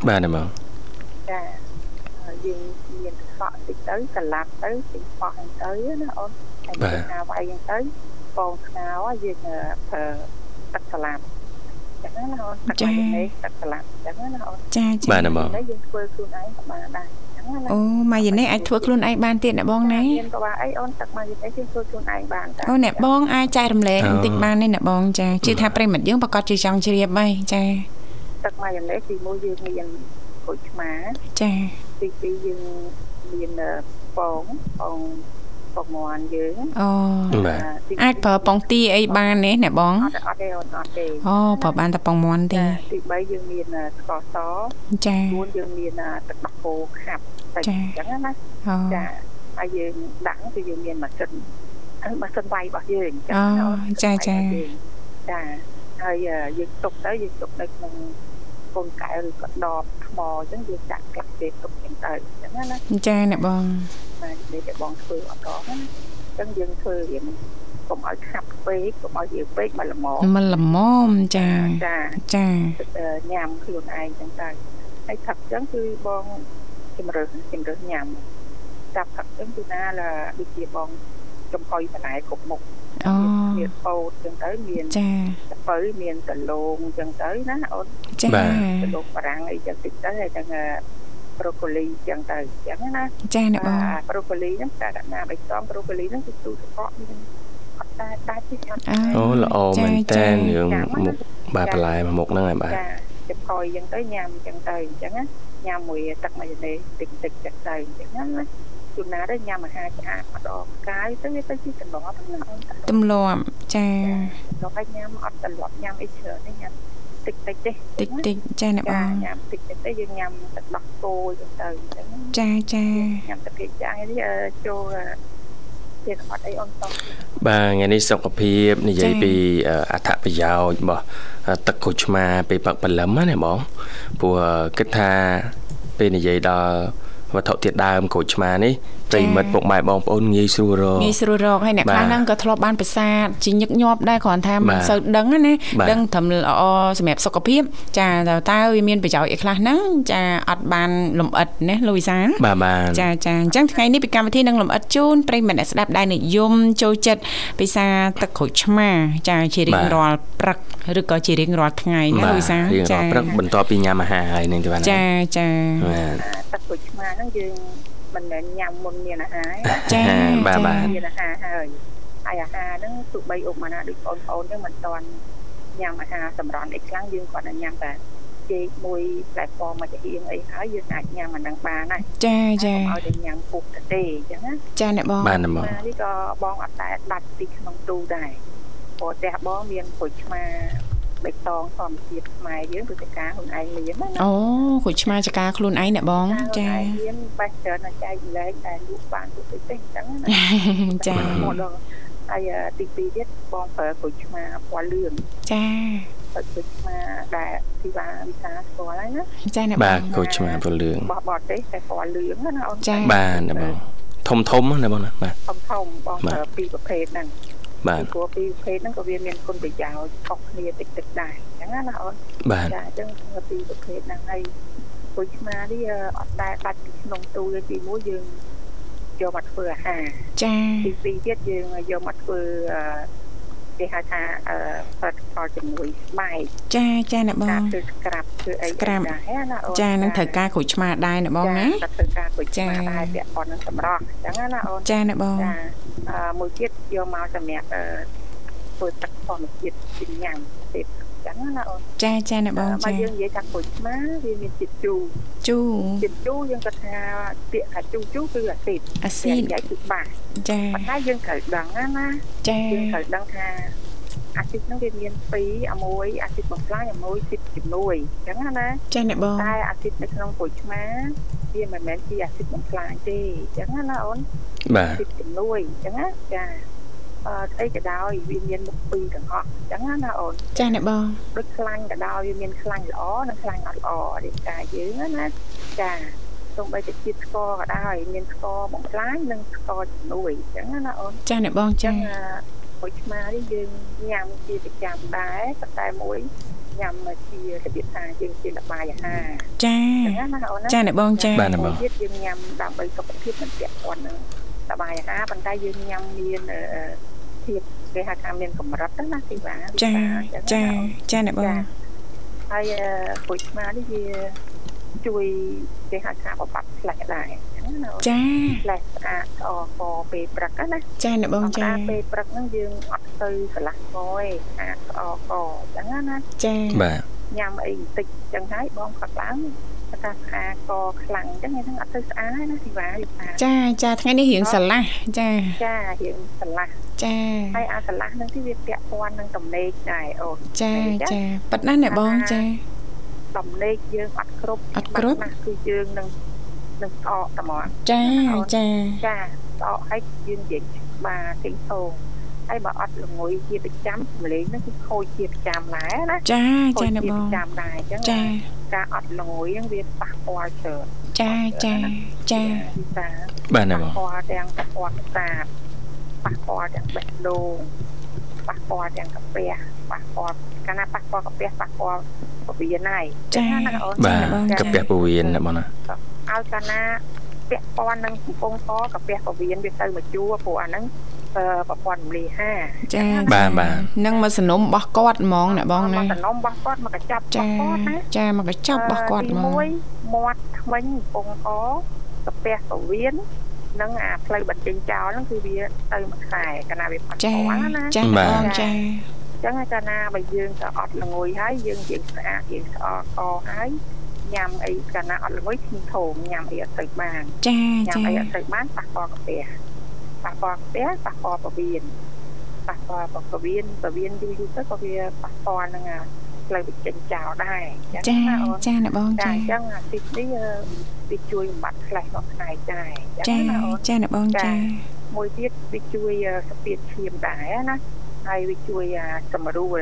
Speaker 4: បាទអ្នកបង
Speaker 5: ចាហើយយើងមានកក់តិចទៅកន្លាប់ទៅពីបោះហ្នឹងទៅណាអូនហើយមានថាវាយហ្នឹងទៅបងស្ងោរយើងធ្វើទឹកកន្លាប់អញ្ចឹងណាអូនទឹកវាយនេះទឹកកន្លាប់អញ្ចឹងណាអូន
Speaker 1: ចា
Speaker 4: បា
Speaker 1: ចា
Speaker 4: ទអ្នកបង
Speaker 5: យើងធ្វើខ្លួនឯងក៏បានដែរអញ្ចឹងណា
Speaker 1: អូម៉ាយូណេអាចធ្វើខ្លួនឯងបានទៀតអ្នកបងណា
Speaker 5: មានក៏បានអីអូនទឹកមកយើងឯងយើងធ្វើខ្លួនឯងបានតែ
Speaker 1: អូអ្នកបងអាចចែករំលែកបន្តិចបានទេអ្នកបងចាជឿថាប្រិមិត្តយើងប្រកាសជាចង់ជ្រាបហើយចា
Speaker 5: ទឹកមកយ៉ាងនេះទីមួយយើងមានក្រូចឆ្មា
Speaker 1: ចា
Speaker 5: ទីពីរយើងមានបងបងបងមន់យើង
Speaker 1: អូ
Speaker 4: បាទ
Speaker 1: អាចប្រើប៉ុងទីអីបានទេអ្នកបង
Speaker 5: អត់អត់ទេអូនអត់ទេ
Speaker 1: អូប្រើបានតែប៉ុងមន់ទេ
Speaker 5: ចាទី3យើងមានអឺស្ករស
Speaker 1: ចា
Speaker 5: 4យើងមានអឺទឹកដោះគោខាប់តែ
Speaker 1: ចា
Speaker 5: អញ្ចឹងណា
Speaker 1: អូ
Speaker 5: ចាហើយយើងដាក់គឺយើងមានម៉ាស៊ីនអឺម៉ាស៊ីនវាយរបស់យើងអ
Speaker 1: អូ
Speaker 5: ញ្ណា
Speaker 1: ចា
Speaker 5: ម៉ាស៊ី
Speaker 1: ចា
Speaker 5: នវាយរបស់យើងចាហើយអឺយើងទុកទៅយើងទុកនៅក្នុង កូនកែវឬក៏ដបថ្មអញ្ចឹងវាចាក់ក្លាក់ទេទុកអញ្ចឹងទៅអញ្ចឹងណា
Speaker 1: ចា
Speaker 5: ណា
Speaker 1: អ្នកបង
Speaker 5: បាទនិយាយតែបងធ្វើអត់ដល់ណាអញ្ចឹងយើងធ្វើរៀនកុំឲ្យខាប់ពេកកុំឲ្យយើងពេកមកល្មម
Speaker 1: មិនល្មមចា
Speaker 5: ចា
Speaker 1: ចា
Speaker 5: អឺញ៉ាំខ្លួនឯងអញ្ចឹងទៅហើយថាប់អញ្ចឹងគឺបងជំរើសជំរើសញ៉ាំចាប់ថាប់អញ្ចឹងគឺណាឡាដូចជាបងចំហុយបន្លែគ្រប់មុខ
Speaker 1: អូ
Speaker 5: មានពោតអញ្ចឹងទៅមាន
Speaker 1: ចា
Speaker 5: ស្ពៅមានកលោងអញ្ចឹងទៅណាអូន
Speaker 1: ចា
Speaker 4: បាទ
Speaker 5: ទៅលោកបារាំងអីចឹងតិចទៅហើយទាំងប្រូកូលីចឹងទៅចឹងណា
Speaker 1: ចាអ្នកបង
Speaker 5: អាប្រូកូលីហ្នឹងតែដាក់ណាបៃតងប្រូកូលីហ្នឹងគឺទូទឹកកកមានអត់តែដាច់ទេអត់តែ
Speaker 4: អូល្អមែនតើរឿងមុខបាទបន្លែមួយមុខហ្នឹងហើយបាទ
Speaker 5: ចាចំកយចឹងទៅញ៉ាំចឹងទៅចឹងណាញ៉ាំមួយទឹកម៉ាយ៉ូណេសតិចតិចចឹងទៅចឹងណាជួនណាទៅញ៉ាំអាហារស្អាតម្ដងកាយទៅវាទៅជាកន្លោះហ្នឹងអូនតើ
Speaker 1: ទំលាប់ចា
Speaker 5: ដល់ឲ្យញ៉ាំអត់កន្លោះញ៉ាំអីច្រើនទេញ៉ាំតិចតិចទេ
Speaker 1: តិចតិចចាអ្នកប
Speaker 5: ចា
Speaker 1: ង
Speaker 5: ញ៉ាំតិចតិចទៅយើងញ៉ាំទឹកដោះគោចឹងទៅចឹងណា
Speaker 1: ចាចា
Speaker 5: ញ៉ាំទឹកគេចាស់នេះអឺចូលអឺជាអត់អីអូនតោះ
Speaker 4: បាទថ្ងៃនេះសុខភាពនិយាយពីអឺអត្ថប្រយោជន៍របស់អឺទឹកក្រូចឆ្មាពេលផឹកព្រលឹមណាបងព្រោះអឺគិតថាពេលនិយាយដល់វត្ថុធាតុដើមក្រូចឆ្មានេះប្រិយមិត្តពុកម៉ែបងប្អូនងាយស្រួលរក
Speaker 1: ងាយស្រួលរកហើយអ្នក
Speaker 4: បាទ
Speaker 1: ខ្លះហ្នឹងក៏ធ្លាប់បានប្រសាទជាញឹកញាប់ដែរគ្រាន់ថា
Speaker 4: បា
Speaker 1: មិន
Speaker 4: ទ
Speaker 1: សូវដឹងណាណា
Speaker 4: បាទ
Speaker 1: ដឹងត្រឹមល្អសម្រាប់សុខភាព ចាតែតើវាមានប្រយោជន៍អីខ្លះហ្នឹងចាអត់បានលំអិតណាលូយសា
Speaker 4: បាទបាទ
Speaker 1: ចាចាអញ្ចឹងថ្ងៃនេះពីកម្មវិធីនឹងលំអិតជូនប្រិយមិត្តអ្នកស្ដាប់ដែលនិយមចូលចិត្តពិសាទឹកក្រូចឆ្មា ចាជារៀងរាល់ព្រឹកឬក៏ជារៀងរាល់ថ្ងៃណាលូយសា
Speaker 4: រៀងរាល់ព្រឹកបន្ទាប់ពីញ៉ាំអាហារហើយនឹងទេបាទ
Speaker 1: ចាចា
Speaker 4: បាទ
Speaker 5: ទឹកក្រូចឆ្មាហ្នឹងយើងមិនមែនញ៉ាំមុនមានអាហារ
Speaker 1: ចា
Speaker 4: អាហារបាទបាទ
Speaker 5: មានអាហារហើយហើយអាហារហ្នឹងទោះបីអុកម៉ាណាដូចបងប្អូនហ្នឹងមិនតន់ញ៉ាំអាហារសម្រន់អីខ្លាំងយើងគាត់តែញ៉ាំតែចេកមួយផ្លែប៉ោមមួយចៀងអីហើយយើងអាចញ៉ាំអាហ្នឹងបានណា
Speaker 1: ចាចា
Speaker 5: ឲ្យតែញ៉ាំពុកតែទេអញ្ចឹងណា
Speaker 1: ចាអ្នកបង
Speaker 4: បាទណាបង
Speaker 5: អានេះក៏បងអត់តែដាច់ពីក្នុងទូដែរព្រោះផ្ទះបងមានក្រូចឆ្មាបៃតងធម្មជាតិខ្មែរយើងព្រោះតែការខ្លួនឯងមានណា
Speaker 1: អូក្រូចឆ្មាចាការខ្លួនឯងអ្នកបង
Speaker 5: ចា
Speaker 1: ចា
Speaker 5: មានបាច់ច្រើនតែចែកលែកតែលក់បានទុកតិចទេអញ្ចឹងណា
Speaker 1: ចា
Speaker 5: មកដល់ហើយទី2ទៀតបងប្រើក្រូចឆ្មាពណ៌លឿង
Speaker 1: ចា
Speaker 5: ប្រើក្រូចឆ្មាដែលធីវ៉ាវិសាស្គាល់ហើយណា
Speaker 1: ចាអ្នកប
Speaker 4: បាទ
Speaker 1: ង
Speaker 4: ក្រូចឆ្មាពលលឿង
Speaker 5: បោះបោះទេតែពណ៌លឿងណាអូន
Speaker 4: បាទណាបងធំធំណាបងណាបាទ
Speaker 5: ធំធំបងប្រើពីរប្រភេទហ្នឹង
Speaker 4: បាទ
Speaker 5: ពីព្រោះពីរប្រភេទហ្នឹងក៏វាមានគុណប្រយោជន៍ខុសគ្នាតិចតិចដែរអញ្ចឹងណាណាអូន
Speaker 4: បាទ
Speaker 5: ចាអញ្ចឹងគឺពីរប្រភេទហ្នឹងហើយពូចឆ្មានេះអឺអត់ដែរដាច់ពីក្នុងទូទេទីមួយយើងយកមកធ្វើអាហារ
Speaker 1: ចា
Speaker 5: ទីពីរទៀតយើងយកមកធ្វើអឺគេហៅថាអឺផលិតផលជំនួយស្បែក
Speaker 1: ចាចាអ្នកបង
Speaker 5: ការធ្វើស្ក្រាប់ធ្វើអី
Speaker 1: Scrap
Speaker 5: ដែរណាអូន
Speaker 1: ចានឹងត្រូវការក្រូចឆ្មាដែរអ្នកបងណា
Speaker 5: ចាត្រូវការពូចឆ្មាដែរពាក់ព័ន្ធនឹងសម្រស់អញ្ចឹងណាណាអូន
Speaker 1: ចាអ្នកបង
Speaker 5: ចាអឺមួយទៀតយកមកសម្រាប់អឺធ្វើទឹកធម្មជាតិជាញ៉ាំទៀតអញ្ចឹងណាអូន
Speaker 1: ចាចាអ្នកបង
Speaker 5: មក
Speaker 1: ចា
Speaker 5: យើងនិយាយថាក្រូចឆ្មាវាមានជាតិជូរ
Speaker 1: ជូ
Speaker 5: ជាតិជូរយើងគាត់ថាពាក្យថាជូរជូរគឺអាស៊ីត
Speaker 1: អាស៊ីត
Speaker 5: និយាយគឺបាស
Speaker 1: ចា
Speaker 5: ប៉ុន្តែយើងត្រូវដឹងណាណា
Speaker 1: ចា
Speaker 5: យើងត្រូវដឹងថាអាស៊ីតហ្នឹងវាមាន2អាមួយអាស៊ីតបំផ្លាញអាមួយអាស៊ីតជំនួយអញ្ចឹងណាណា
Speaker 1: ចាអ្នកបង
Speaker 5: តែអាស៊ីតនៅក្នុងក្រូចឆ្មាវាមិនមែនជាអាស៊ីតបំផ្លាញទេអញ្ចឹងណាណាអូន
Speaker 4: បាទ
Speaker 5: ពីជំនួយអញ្ចឹងណាចាអឺអីក៏ដោយវាមានមុខពីរទាំងអស់អញ្ចឹងណាណាអូន
Speaker 1: ចាអ្នកបង
Speaker 5: ដូចខ្លាញ់ក៏ដោយវាមានខ្លាញ់ល្អនិងខ្លាញ់អត់ល្អរាងកាយយើងណាណាចាទោះបីជាជាតិស្ករក៏ដោយមានស្ករបំផ្លាញនិងស្ករជំនួយអញ្ចឹងណាណាអូន
Speaker 1: ចាអ្នកបង
Speaker 5: អញ្ចឹ
Speaker 1: ចា
Speaker 5: ងអឺក្រូចឆ្មានេះយើងញ៉ាំជាប្រចាំដែរប៉ុន្តែមួយញ៉ាំជារបៀបថាយើងជាលបាយអាហារ
Speaker 1: ចា
Speaker 5: អញ្ចឹងណាណាអូនណា
Speaker 1: ចាអ្នកបងចា
Speaker 4: បាទណាបង
Speaker 5: មួយទៀតយើងញ៉ាំដើម្បីសុខភាពមិនពាក់ព័ន្ធនឹងសបាយអាហារប៉ុន្តែយើងញ៉ាំមានអឺធាតុគេហៅថាមានកម្រិតហ្នឹងណាទីបា
Speaker 1: ចា
Speaker 5: វិបា
Speaker 1: ចា
Speaker 5: អញ្
Speaker 1: ចាអ្នកប
Speaker 5: ចឹ
Speaker 1: ង
Speaker 5: ណាហើយអឺក្រូចឆ្មានេះវាជួយគេហៅថាបំបត្តិផ្លេសដែរអញ្ចឹងណា
Speaker 1: ចា
Speaker 5: ផ្លេសស្អាតស្អកពេលព្រឹកហ្នឹងណា
Speaker 1: ចាអ្នកបង
Speaker 5: ធ
Speaker 1: ចា
Speaker 5: ម្មតាពេលព្រឹកហ្នឹងយើងអត់ទៅកន្លះកឯងស្អាតស្អកអញ្ចឹងណាណា
Speaker 1: ចា
Speaker 4: បាទ
Speaker 5: ញ៉ាំអីបន្តិចចឹងហើយបងគាត់ឡើងគាត់ថាស្អាតកខ្លាំងចឹងហ្នឹងអត់ទៅស្អាតណាស៊ីវ៉ាយថា
Speaker 1: ចាចាថ្ងៃនេះរៀងស្រឡះចា
Speaker 5: ចារៀងស្រឡះ
Speaker 1: ចា
Speaker 5: ហើយអាស្រឡះហ្នឹងទីវាពាក់ព័ន្ធនឹងតំណែងដែរអូន
Speaker 1: ចាចាប៉ិតណាស់អ្នកបងចា
Speaker 5: តំណែងយើងអត់គ្រប់
Speaker 1: អត់គ្រប់
Speaker 5: ណាស់គឺយើងនឹងនឹងស្អកតែហ្មង
Speaker 1: ចាចា
Speaker 5: ចាស្អកហើយយើងនិយាយបាទទីងធងហើយបើអត់ល្ងុយជាប្រចាំសម្លេងហ្នឹងគឺខូចជាប្រចាំដែរណា
Speaker 1: ចា
Speaker 5: ខូ
Speaker 1: ចា
Speaker 5: ច
Speaker 1: អ្នកប
Speaker 5: ជាប្រ
Speaker 1: ង
Speaker 5: ចាំដែរចឹង
Speaker 1: ចា
Speaker 5: ណា ការអត់លយហ្នឹងវាប៉ះពាល់ច្រើន
Speaker 1: ចាចាចា
Speaker 5: ពីតា
Speaker 4: បាទណា
Speaker 5: ប៉ះ
Speaker 4: បង
Speaker 5: ពាល់ទាំងប្រព័ន្ធសាបប៉ះពាល់ទាំងបេះដូងប៉ះពាល់ទាំងកាពះប៉ះពាល់កាលណាប៉ះពាល់កាពះប៉ះពាល់ពវៀនហើយ
Speaker 1: ចា
Speaker 5: ណាណាអូន
Speaker 4: បាទ
Speaker 5: ចា
Speaker 4: កាពះពោះវៀនណាបងណា
Speaker 5: ឲ្យកាលណាពាក់ព័ន្ធនឹងកំពង់សកាពះពវៀនវាទៅមកជួរព្រោះអាហ្នឹងអឺប្រព័ន្ធរំលាយហារ
Speaker 1: ចា
Speaker 4: បាទបាទ
Speaker 1: នឹងមកសនុំរបស់គាត់ហ្មងណាបងណា
Speaker 5: មកសំណុំរបស់គាត់មកកញ្ចប់
Speaker 1: ចា
Speaker 5: របស់គាត់ណា
Speaker 1: ចាមកកញ្ចប់របស់គាត់ហ្ម
Speaker 5: ទី
Speaker 1: ង
Speaker 5: មួយមាត់ខ្មិញពងអកាពះពវៀននិងអាផ្លូវបញ្ចេញចោលហ្នឹងគឺវាទៅមួយខ្សែកាលណាវាផាត់
Speaker 1: ចា
Speaker 5: ពាល់ណា
Speaker 1: ចាបងចា
Speaker 5: អញ្ចឹងកាលណាបើយើងក៏អត់ល្ងួយហើយយើងជាងស្អាតជាងស្អកកហើយញ៉ាំអីកាលណាអត់ល្ងួយឈឺធំញ៉ាំអីអត់ទៅបាន
Speaker 1: ចា
Speaker 5: ញ៉ាំ
Speaker 1: ចា
Speaker 5: អីអត់ទៅបានប៉ះពាល់កាពះប៉ះពាល់កាពះប៉ះពាល់ពវៀនប៉ះពាល់ពវៀនពវៀនយូរៗទៅក៏វាប៉ះពាល់នឹងអាផ្លូវបញ្ចេញចោលដែរអញ្
Speaker 1: ចា
Speaker 5: ណាអូន
Speaker 1: ចាណាបង
Speaker 5: ចា
Speaker 1: ចា
Speaker 5: អញ្ចឹងអាទីបនេះអឺវាជួយបំបត្តិផ្លេសរបស់ផ្នែកដែរអ
Speaker 1: ចា
Speaker 5: ញ្ចឹងណាអូន
Speaker 1: ចាណាបងចា
Speaker 5: មួយទៀតវាជួយអឺស្ពាតឈាមដែរណាហើយវាជួយអាសម្រួល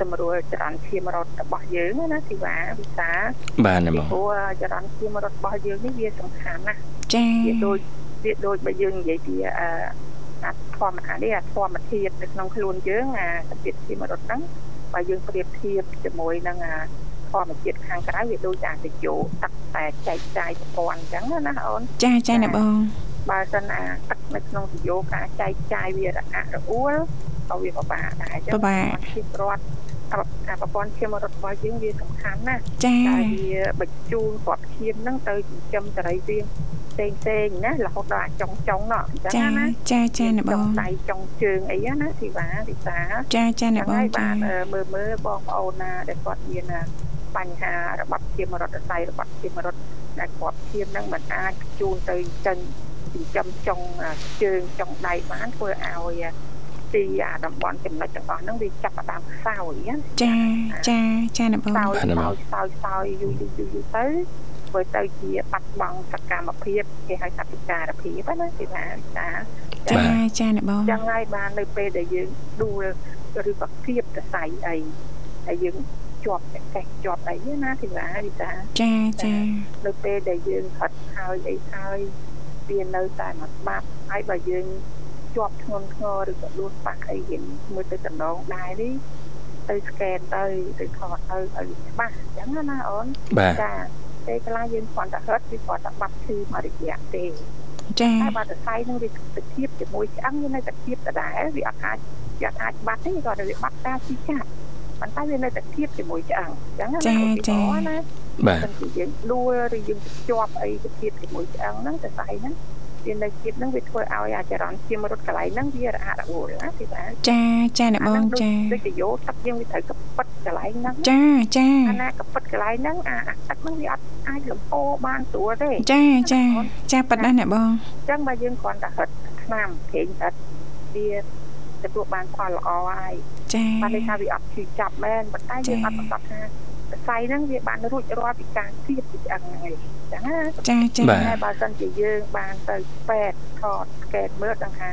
Speaker 5: សម្រួលចរន្តឈាមរត់របស់យើងណាធីវ៉ាវិសា
Speaker 4: បាទណា
Speaker 5: ពី
Speaker 4: បង
Speaker 5: ព្រោះចរន្តឈាមរត់របស់យើងនេះវាសំខាន់ណាស់
Speaker 1: ចា
Speaker 5: វាដូចវាដូចបើយើងនិយាយពីអឺអាធម្មតានេះអាធម្មជាតិនៅក្នុងខ្លួនយើងអាស្ពាតឈាមរត់ហ្នឹងបើយើងប្រៀបធៀបជាមួយនឹងអា ធម្មជាតិខាងក្រៅវាដូចជាអាកយោទឹកតែចែកចាយប្រព័ន្ធអញ្ចឹងណាអូន
Speaker 1: ចាចាណាបង
Speaker 5: បើសិនអាទឹកនៅក្នុងកយោការចែកចាយវារអាក់រអួលក៏វាពិបាកដែរអញ្ចឹ
Speaker 1: ពិបាក
Speaker 5: ជាប្រវត្តិអាប្រព័ន្ធឈាមរត់របស់យើងវាសំខាន់ណាស់
Speaker 1: ចា
Speaker 5: តែវាបញ្ជូនគ្រាប់ឈាមហ្នឹងទៅចិញ្ចឹមសរីរាង្គផ្សេងផ្សេងៗណារហូតដល់អាចុងចុងៗណោះអញ្ចឹ
Speaker 1: ចា
Speaker 5: ងណា
Speaker 1: ចាចាណាប
Speaker 5: ចុ
Speaker 1: ង
Speaker 5: ដៃចុងជើងអីណាធីវ៉ាវិសា
Speaker 1: ចាចាណាបង
Speaker 5: ហ្នឹងហើយ
Speaker 1: ចា
Speaker 5: បានអឺមើលមើលបងប្អូនណាដែលគាត់មានអឺបញ្ហារបត់ឈាមរត់សៃរបត់ឈាមរត់ដែលគាត់ឈាមហ្នឹងមិនអាចបញ្ជូនទៅចិញ្ចិញ្ចឹមចុងអឺជើងចុងដៃបានធ្វើឲ្យអឺទីអាតំបន់ចំណុចទាំងអស់ហ្នឹងវាចាប់ផ្ដើមខ្សោយណា
Speaker 1: ចាចាចាណាបង
Speaker 5: ខ្សោយខ្សោយខ្សោយខ្សោយយូរយូរយូរយូរទៅធ្វើទៅជាបាត់បង់សកម្មភាពគេហៅថាពិការភាពហ្នឹងណាគេថាចា
Speaker 1: ចាចាណាបង
Speaker 5: ចឹងហើយបាននៅពេលដែលយើងដួលឬក៏គៀបសរសៃអីហើយយើងជាប់តែកេះជាប់អីណាធីវ៉ាវិសា
Speaker 1: ចាចា
Speaker 5: នៅពេលដែលយើងផាត់ហើយអីហើយវានៅតែមកបាត់ហើយបើយើងជាប់ធ្ងន់ធ្ងរឬក៏ដួលបាក់អីវិញមើលទៅដំណងដែរនេះទៅស្កេនទៅទៅថតទៅឲ្យច្បាស់ចឹងណាអូន
Speaker 4: បាទ
Speaker 5: ចាពេលខ្លះយើងគ្រាន់តែហត់វាគ្រាន់តែបាត់ឈឺមករយៈទេ
Speaker 1: ចា
Speaker 5: តែបាតសៃនឹងវាទៅធៀបជាមួយឆ្អឹងវានៅតែធៀបដដែលវាអត់អាចវាអត់អាចបាត់ទេគាត់ទៅវាបាត់ការជីចាត់ប៉ុន្តែវានៅតែធៀបជាមួយឆ្អឹងអញ្ចឹងណាឧទាហរណ៍ណា
Speaker 4: បាទ
Speaker 5: មិនគឺយើងដួលឬយើងជាប់អីទៅធៀបជាមួយឆ្អឹងហ្នឹងសរសៃហ្នឹងវានៅធៀបហ្នឹងវាធ្វើឲ្យអាចរន្តឈាមរត់កន្លែងហ្នឹងវារអាក់រអួលណាទីបាន
Speaker 1: ចាចាណាប
Speaker 5: អាហ្នឹង ងដូច
Speaker 1: ចា
Speaker 5: ដូចជាយកទឹកយើងវាត្រូវកប៉ិតកន្លែងហ្នឹង
Speaker 1: ចាចា
Speaker 5: អាណាកប៉ិតកន្លែងហ្នឹងអាអាទឹកហ្នឹងវាអត់អាចលំពោបានស្រួលទេ
Speaker 1: ចាចាចាប៉ណ្ណេះណាបង
Speaker 5: ចឹងបើយើងគ្រាន់តែហិតឆ្នាំព្រេងហិតវាទទួលបានផលល្អហើយ
Speaker 1: ចា
Speaker 5: បានន័យថាវាអត់ឈឺចាប់មែនប៉ុន្តែយើងអត់ប្រកាសថាសរសៃហ្នឹងវាបានរួចរាល់ពីការធៀបពីឆ្អឹងហ្នឹងឯងចឹងណា
Speaker 1: ចាចា
Speaker 4: បាទ
Speaker 5: តែបើសិនជាយើងបានទៅពេទ្យថតស្កេតមើលដល់ថាស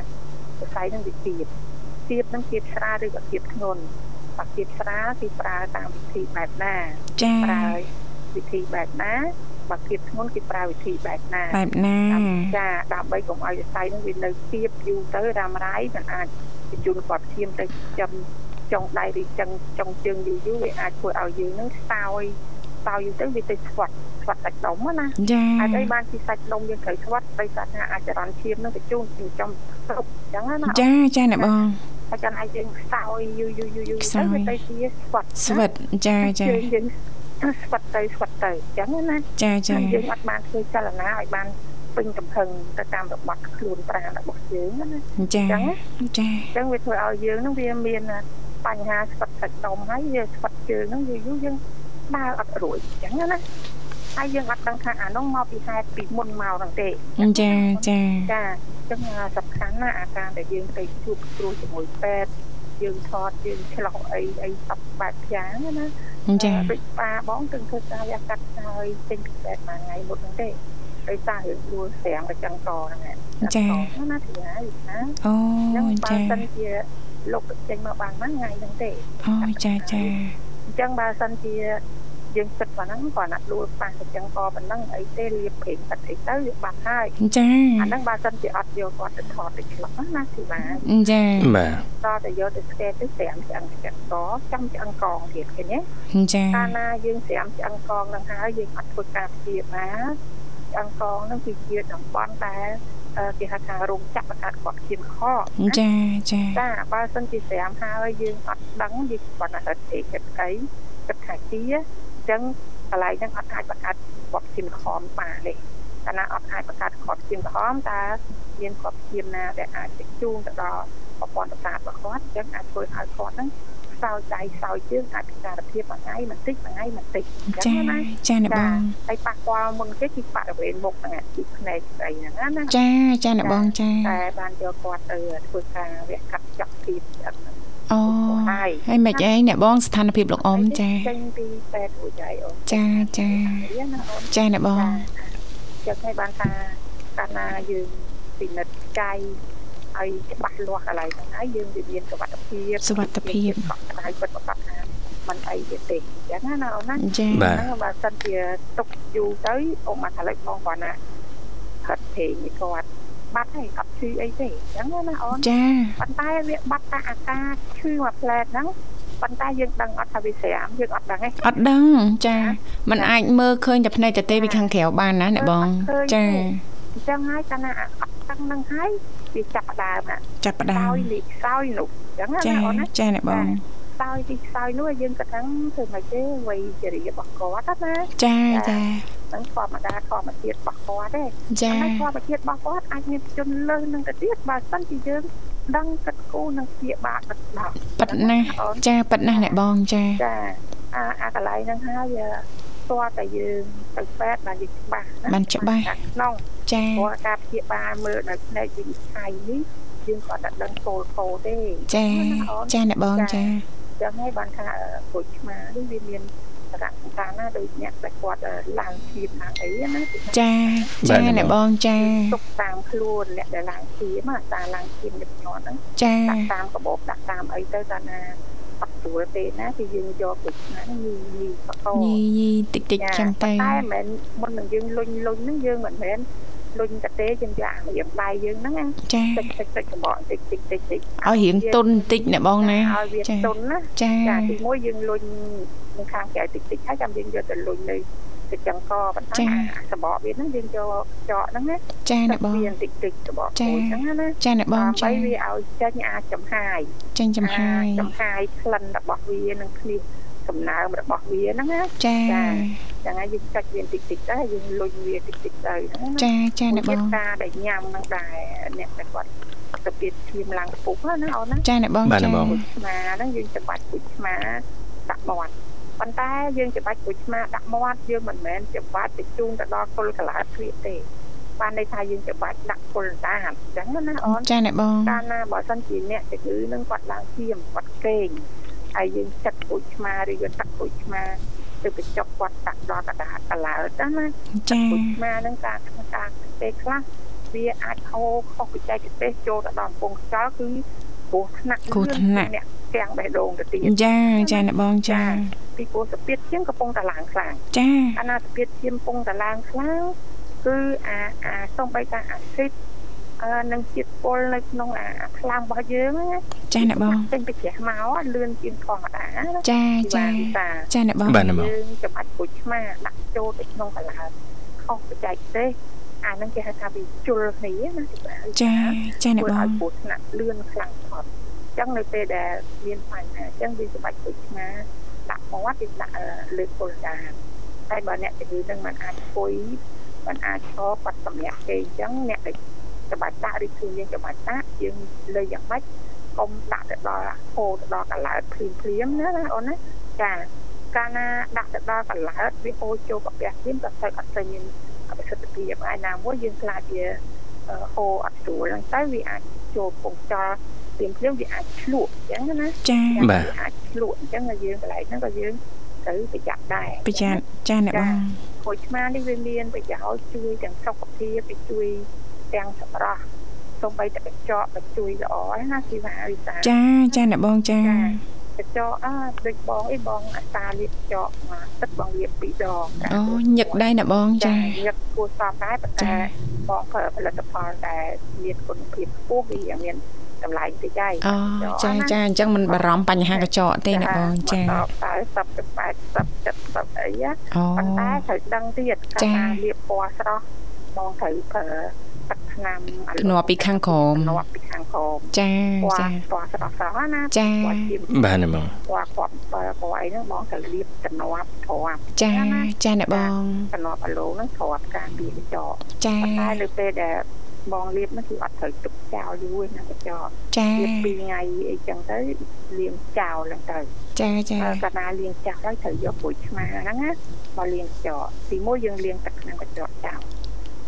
Speaker 5: រសៃហ្នឹងវាធៀបធៀបហ្នឹងធៀបស្រាលឬក៏ធៀបធ្ងន់បើធៀបស្រាលគឺប្រើតាមវិធីបែបណា
Speaker 1: ចា
Speaker 5: ប្រើវិធីបែបណាបើធៀបធ្ងន់គឺប្រើវិធីបែបណា
Speaker 1: បែបណា
Speaker 5: ចាដើម្បីកុំឲ្យសរសៃនឹងវានៅទៀបយូរទៅរ៉ាំរ៉ៃមិនអាចបញ្ជូនគាត់ឈាមទៅចំចុងដៃឬចឹងចុងជើងយូរយូរវាអាចធ្វើឲ្យយើងនឹងស្ោយស្ោយយូរទៅវាទៅស្វាត់ស្វាត់សាច់ដុំហ្នឹងណា
Speaker 1: ចា
Speaker 5: ហេតុអីបានជាសាច់ដុំយើងត្រូវស្វាត់ដោយសារថាអាចរន្តឈាមនឹងបញ្ជូនទៅចំស្រុកចឹងណា
Speaker 1: ចាចាណាបង
Speaker 5: ហើយចាំឲ្យយើងស្ោយយូរយូរយូរយូរទៅវាទៅជាស្វាត់
Speaker 1: ស្វិតចាចា
Speaker 5: យើងយើងស្វាត់ទៅស្វាត់ទៅចឹងណា
Speaker 1: ចាចា
Speaker 5: ហើយយើងអត់បានធ្វើចលនាឲ្យបានពេញកំភឹងទៅតាមរបត់ខ្លួនប្រាណរបស់យើងណាអ
Speaker 1: ចា
Speaker 5: ញ្ចឹងណា
Speaker 1: ចា
Speaker 5: អញ្ចឹងវាធ្វើឲ្យយើងហ្នឹងវាមានបញ្ហាស្វិតសាច់ដុំហើយវាស្វិតជើងហ្នឹងយូរយូរយើងដើរអត់រួចអញ្ចឹងណាហើយយើងអត់ដឹងថាអានោះមកពីហេតុពីមុនមកហ្នឹងទេ
Speaker 1: ចាចា
Speaker 5: ចាអញ្ចឹងសំខាន់ណាអាការដែលយើងទៅជួបគ្រូជាមួយពេទ្យយើងថតយើងឆ្លោះអីអីសັບបែបយ៉ាងណា
Speaker 1: ចា
Speaker 5: ដូចប៉ាបងទិញធ្វើការវាកាត់ហើយទិញពីពេទ្យមួយថ្ងៃមុនហ្នឹងទេដោយសាររឿងដួលស្រាំប្រចាំកហ្នឹងណាហ្នឹងណាទីណាណា
Speaker 1: អូ
Speaker 5: ហ្នឹងបើ
Speaker 1: ចា
Speaker 5: សិនជាលោកចេញមកបានមួយថ្ងៃហ្នឹងទេ
Speaker 1: អូចាចា
Speaker 5: អញ្ចឹងបើសិនជា យើងគិតប៉ុណ្ណឹងគាត់ណាដួលប៉ះអញ្ចឹងក៏ប៉ុណ្ណឹងអីទេលាបប្រេងទឹកអីទៅវាបាត់ហើយ
Speaker 1: ចា
Speaker 5: អាហ្នឹងបើសិនជាអត់យកគាត់ទៅថតទៅឆ្លុះណាធីបា
Speaker 1: ចា
Speaker 4: បាទ
Speaker 5: តតែយកទៅស្កេតទៅស្រាមឆ្អឹងឆ្អឹងកចាំឆ្អឹងកងទៀតឃើញទេ
Speaker 1: ចា
Speaker 5: កាលណាយើងស្រាមឆ្អឹងកងនឹងហើយយើងអត់ធ្វើការព្យាបាលឆ្អឹងកងនឹងគឺជាតំបន់ដែលអឺគេហៅថារោងចក្របង្កើតគាត់ឈាមខកណា
Speaker 1: ចាចា
Speaker 5: ចាបើសិនជាស្រាមហើយយើងអត់ដឹងវាគាត់ណាស់រត់អីគិតអីគិតថាជាអញ្ចឹងកន្លែងហ្នឹងអត់អាចបង្កើតគាត់ឈាមខំបានទេកាលណាអត់អាចបង្កើតគាត់ឈាមខំតើមានគាត់ឈាមណាដែលអាចទៅជួងទៅដល់ប្រព័ន្ធប្រសាទរបស់គាត់អញ្ចឹងអាចធ្វើឲ្យគាត់ហ្នឹងខ្សោយដៃខ្សោយជើងអាចពិការភាពមួយថ្ងៃបន្តិចមួយថ្ងៃបន្តិចអ
Speaker 1: ចា
Speaker 5: ញ្ចឹងណា
Speaker 1: ចាអ្នកបង
Speaker 5: ហើយប៉ះពាល់មុនគេគឺបរិវេណមុខហ្នឹងអាទីភ្នែកស្អីហ្នឹងណាណា
Speaker 1: ចាចាអ្នកបងចា
Speaker 5: តែបានយកគាត់ទៅធ្វើការវះកាត់ចាក់ពីស្អឹកហ្នឹង
Speaker 1: អូហើយមិនអីអ្នកបងស្ថានភាពលោកអ៊ំចា
Speaker 5: ចេញពីពេទ្យរួចហើយអូន
Speaker 1: ចាចា
Speaker 5: នេះណាអូន
Speaker 1: ចាអ្នកបង
Speaker 5: ចាចឹងឲ្យបានថាកាលណាយើងពិនិត្យចៃឲ្យច្បាស់លាស់កន្លែងហ្នឹងហើយយើងវាមានសុវត្ថិភាព
Speaker 1: សុវត្ថិភាព
Speaker 5: កក់ក្ដៅពិតប្រកបថាมันអីវាទេអញ្ចឹងណាណាអូនណា
Speaker 1: ចា
Speaker 4: បាទ
Speaker 5: ហ្នឹងបើសិនជាຕົកយូរទៅអូមកថាលេចបងគាត់ណាហត់ពេកនេះគាត់បាត់ហើយអត់ឈឺអីទេអញ្ចឹងណាអូន
Speaker 1: ចា
Speaker 5: ប៉ុន្តែវាបាត់តែអាការឈឺមួយផ្លែតហ្នឹងប៉ុន្តែយើងដឹងអត់ថាវាស្រាមយើងអត់ដឹងទេ
Speaker 1: អត់ដឹងចាมันអាចមើលឃើញតែភ្នែកតែទេពីខាងក្រៅបានណាអ្នកបងចា
Speaker 5: អញ្ចឹងហើយកាលណាអត់ដឹងហ្នឹងហើយវាចាប់ផ្ដើមណា
Speaker 1: ចាប់ផ្ដើម
Speaker 5: ខ្សោយនេះខ្សោយនោះអញ្ចឹងណា
Speaker 1: ចា
Speaker 5: អូនណា
Speaker 1: ចាអ្នកបង
Speaker 5: ខ្សោយទីខ្សោយនោះយើងក៏ថាធ្វើម៉េចទេវ័យជរារបស់គាត់ណា
Speaker 1: ចាចា
Speaker 5: ហ្នឹងធម្មតាធម្មជាតិរបស់គាត់ទេ
Speaker 1: ចា
Speaker 5: ហើយធម្មជាតិរបស់គាត់អាចមានជនលើសនឹងទៅទៀតបើសិនជាយើងដឹងគិតគូរនឹងជាបាបទឹកដោះ
Speaker 1: ប៉ិតណាស់
Speaker 5: អូន
Speaker 1: ចាប៉ិតណាស់អ្នកបងចា
Speaker 5: ចាអាអាកន្លែងហ្នឹងហើយស្ទាល់តែយើងទៅពេទ្យបានយើងច្បាស់ណា
Speaker 1: បានច្បាស់
Speaker 5: ខាងក្នុង
Speaker 1: ចា
Speaker 5: ព្រោះការព្យាបាលមើលនៅផ្នែកវិនិច្ឆ័យនេះយើងគាត់តែដឹងគោលគោលទេ
Speaker 1: ចា
Speaker 5: ណាអូន
Speaker 1: ចាអ្នកបងចា
Speaker 5: ចឹងហើយបានថាអឺក្រូចឆ្មានេះវាមានសារៈសំខាន់ណាដូចអ្នកដែលគាត់អឺឡើងឈាមឡើងអីណា
Speaker 1: ចាចាអ្នកបងចា
Speaker 5: ទុកតាមខ្លួនអ្នកដែលឡើងឈាមអាសារឡើងឈាមញឹកញាប់ហ្នឹង
Speaker 1: ចា
Speaker 5: ដាក់តាមកាបូបដាក់តាមអីទៅកាលណាអត់ស្រួលទេណាគឺយើងយកទៅឆ្នាំញីញីបកោ
Speaker 1: ញីញីតិចតិចចាំទៅ
Speaker 5: តែមិនមែនមុននឹងយើងលុញលុញហ្នឹងយើងមិនមែនលុញតែទេយើងយកអារៀមដៃយើងហ្នឹងណា
Speaker 1: ចា
Speaker 5: តិចតិចតិចកបកតិចតិចតិចតិច
Speaker 1: ឲ្យរៀងទុនបន្តិចអ្នកបងណា
Speaker 5: ឲ្យវា
Speaker 1: ចា
Speaker 5: ទន់ណា
Speaker 1: ចា
Speaker 5: ចាទីមួយយើងលុញនៅខាងក្រៅតិចតិចហើយចាំយើងយកទៅលុញនៅទឹកចង្កប៉ុន្តែអាសបកវាហ្នឹងយើងយកចកហ្នឹងណា
Speaker 1: ចាអ្នកបង
Speaker 5: មានតិចតិចទៅបង
Speaker 1: ចា៎
Speaker 5: អូនចឹងណា
Speaker 1: ចាអ្នកបង
Speaker 5: ដើម្បី
Speaker 1: ចា
Speaker 5: វាឲ្យចេញអាចចំហាយ
Speaker 1: ចាញ់ចំហាយ
Speaker 5: អាចចំហាយក្លិនរបស់វានិងឃ្លៀសសំណើមរបស់វាហ្នឹងណា
Speaker 1: ចា
Speaker 5: ចឹងហើយយើងចាច់វាតិចតិចដែរយើងលុញវាតិចតិចទៅហ្នឹងណា
Speaker 1: ចាចាអ្នកប
Speaker 5: មួយ
Speaker 1: ង
Speaker 5: ទៀតការដែលញ៉ាំហ្នឹងដែរអ្នកតែលគាត់ទៅទៀតឈាមឡើងពុះណាអូនណា
Speaker 1: ចាអ្នកបង
Speaker 4: បាទ
Speaker 1: ចា
Speaker 4: អ្នកបង
Speaker 5: ឆ្មាហ្នឹងយើងច្បាច់ពុជឆ្មាដាក់មាត់ប៉ុន្តែយើងច្បាច់ពុជឆ្មាដាក់មាត់យើងមិនមែនច្បាច់ទៅជូនទៅដល់គល់កលាគ្រាកទេបានន័យថាយើងច្បាច់ដាក់គល់ដណ្ដានអញ្ចឹងណាអូន
Speaker 1: ចាអ្នកបង
Speaker 5: កាលណាបើសិនជាអ្នកជំងឺនឹងគាត់ឡើងឈាមគាត់កេងហើយយើងចិត្តពុជឆ្មាឬយកទឹកពុជឆ្មាទៅបញ្ចុកគាត់ដាក់ដល់កណ្ដាលកលើតណា
Speaker 1: ចា
Speaker 5: ពុជឆ្មានឹងការធ្វើការពេលខ្លះវាអាចហូរខុសបច្ចេកទេសចូលទៅដល់កំពង់ខ្យល់គឺគ្រោះថ្នាក់អ្នកទាំងបេះដូងទៅទៀត
Speaker 1: ចាចាអ្នកបងចា
Speaker 5: ពីព្រោះសពាតឈាមកំពុងតែឡើងខ្លាំង
Speaker 1: ចា
Speaker 5: អាណាសពាតឈាមកំពុងតែឡើងខ្លាំងគឺអាអាសំបីតាអាស៊ីតអឺនឹងជាតិពុលនៅក្នុងអាខ្លាំងរបស់យើងណា
Speaker 1: ចាអ្នកបង
Speaker 5: ចេញពីជ្រះមកលឿនជាងធម្មតាណា
Speaker 1: ចា
Speaker 5: វ៉ា
Speaker 1: ចា
Speaker 5: វិសា
Speaker 1: ចាអ្នកបង
Speaker 4: បាទអ្នកបង
Speaker 5: យើងចំបាច់ពុជឆ្មាដាក់ចូលទៅក្នុងកលាខុសបច្ចេកទេសអាហ្នឹងគេហៅថាវាជុលគ្នាណាទីបា
Speaker 1: ចាចាអ្នក
Speaker 5: ធ្វើ
Speaker 1: ប
Speaker 5: ឲ្យ
Speaker 1: ង
Speaker 5: ពោះថ្នាក់លឿនខ្លាំងផុតអញ្ចឹងនៅពេលដែលមានបញ្ហាអញ្ចឹងវាចំបាច់ពុជឆ្មាដាក់មាត់វាដាក់អឺលើគល់ដានតែបើអ្នកជំងឺហ្នឹងมันអាចពុយมันអាចឈរបាត់សម្រាប់គេអញ្ចឹងអ្នកដែលចំបាច់ដាក់ឬខ្លួនយើងចំបាច់ដាក់យើងលើយ៉ាងម៉េច កុំដាក់ទៅដល់ហូរទៅដល់កន្លើតភ្លាមភ្លាមណាណាអូនណាចាកាលណាដាក់ទៅដល់កន្លើតវាហូរចូលកាពះភ្លាមក៏ស្អិតអត់ស្អិតមានប្រសិទ្ធភាពឯណាមួយយើងខ្លាចវាអឺហូរអត់ស្រួលហ្នឹងទៅវាអាចចូលពងចោលភ្លាមភ្លាមវាអាចឆ្លក់អញ្ចឹងណា
Speaker 1: ចា
Speaker 4: បាទ
Speaker 5: វាអាចឆ្លក់អញ្ចឹងហើយយើងកន្លែងហ្នឹងក៏យើងត្រូវប្រយ័ត្នដែរ
Speaker 1: ប្រយ័ត្នចាអ្នកបង
Speaker 5: ក្រូចឆ្មានេះវាមានប្រយោជន៍ជួយទាំងសុខភាពវាជួយទាំងសម្រស់សូម្បីតែកញ្ចក់ក៏ជួយល្អហើយណាជីវ៉ាវិសា
Speaker 1: ចាចាអ្នកបងចា
Speaker 5: កញ្ចក់អាដូចបងអីបងអាសាលាបកញ្ចក់មកទឹកបងលាបពីរដង
Speaker 1: អូញឹកដែរណាបងចា
Speaker 5: ញឹកគួរសមដែរប៉ុ
Speaker 1: ចា
Speaker 5: ន្តែបងប្រើផលិតផលដែលមានគុណភាពខ្ពស់វាមានតម្លៃតិចហើយ
Speaker 1: អូចាចាអញ្ចឹងមិនបារម្ភបញ្ហាកញ្ចក់ទេណាបងចា
Speaker 5: តើ10ទៅ80 70អីណា
Speaker 1: អូ
Speaker 5: ប៉ុន្តែត្រូវដឹងទៀត
Speaker 1: ចា៎
Speaker 5: ការលាបពណ៌ស្រស់បងត្រូវប្រើទឹកថ្នាំអា
Speaker 1: ធ្នាប់ពីខាងក្រោម
Speaker 5: ធ្នាប់ពីខាងក្រោម
Speaker 1: ចា
Speaker 5: ពណ៌
Speaker 1: ចា
Speaker 5: ពណ៌ស្រស់ស្រស់ៗណា
Speaker 1: ចា
Speaker 5: ពណ៌ជាពណ៌
Speaker 4: បាទណាបង
Speaker 5: ពណ៌គាត់ពណ៌ពណ៌អីហ្នឹងបងត្រូវលាបធ្នាប់ធ្នាប់
Speaker 1: ចាចាណាបង
Speaker 5: ធ្នាប់អាឡូហ្នឹងធ្នាប់ការពារកញ្ចក់
Speaker 1: ចា
Speaker 5: ប៉ុន្តែនៅពេលដែលបងលាបហ្នឹងគឺអត់ត្រូវទុកចោលយូរណាកញ្ចក់
Speaker 1: ចា
Speaker 5: លាប2ថ្ងៃអីចឹងទៅលាងចោលហ្នឹងទៅ
Speaker 1: ចាចា
Speaker 5: អើកាលណាលាងចាស់ហើយត្រូវយកព្រួយឆ្មាហ្នឹងណាមកលាងចោលទីមួយយើងលាងទឹកក្នុងកញ្ចក់ចោល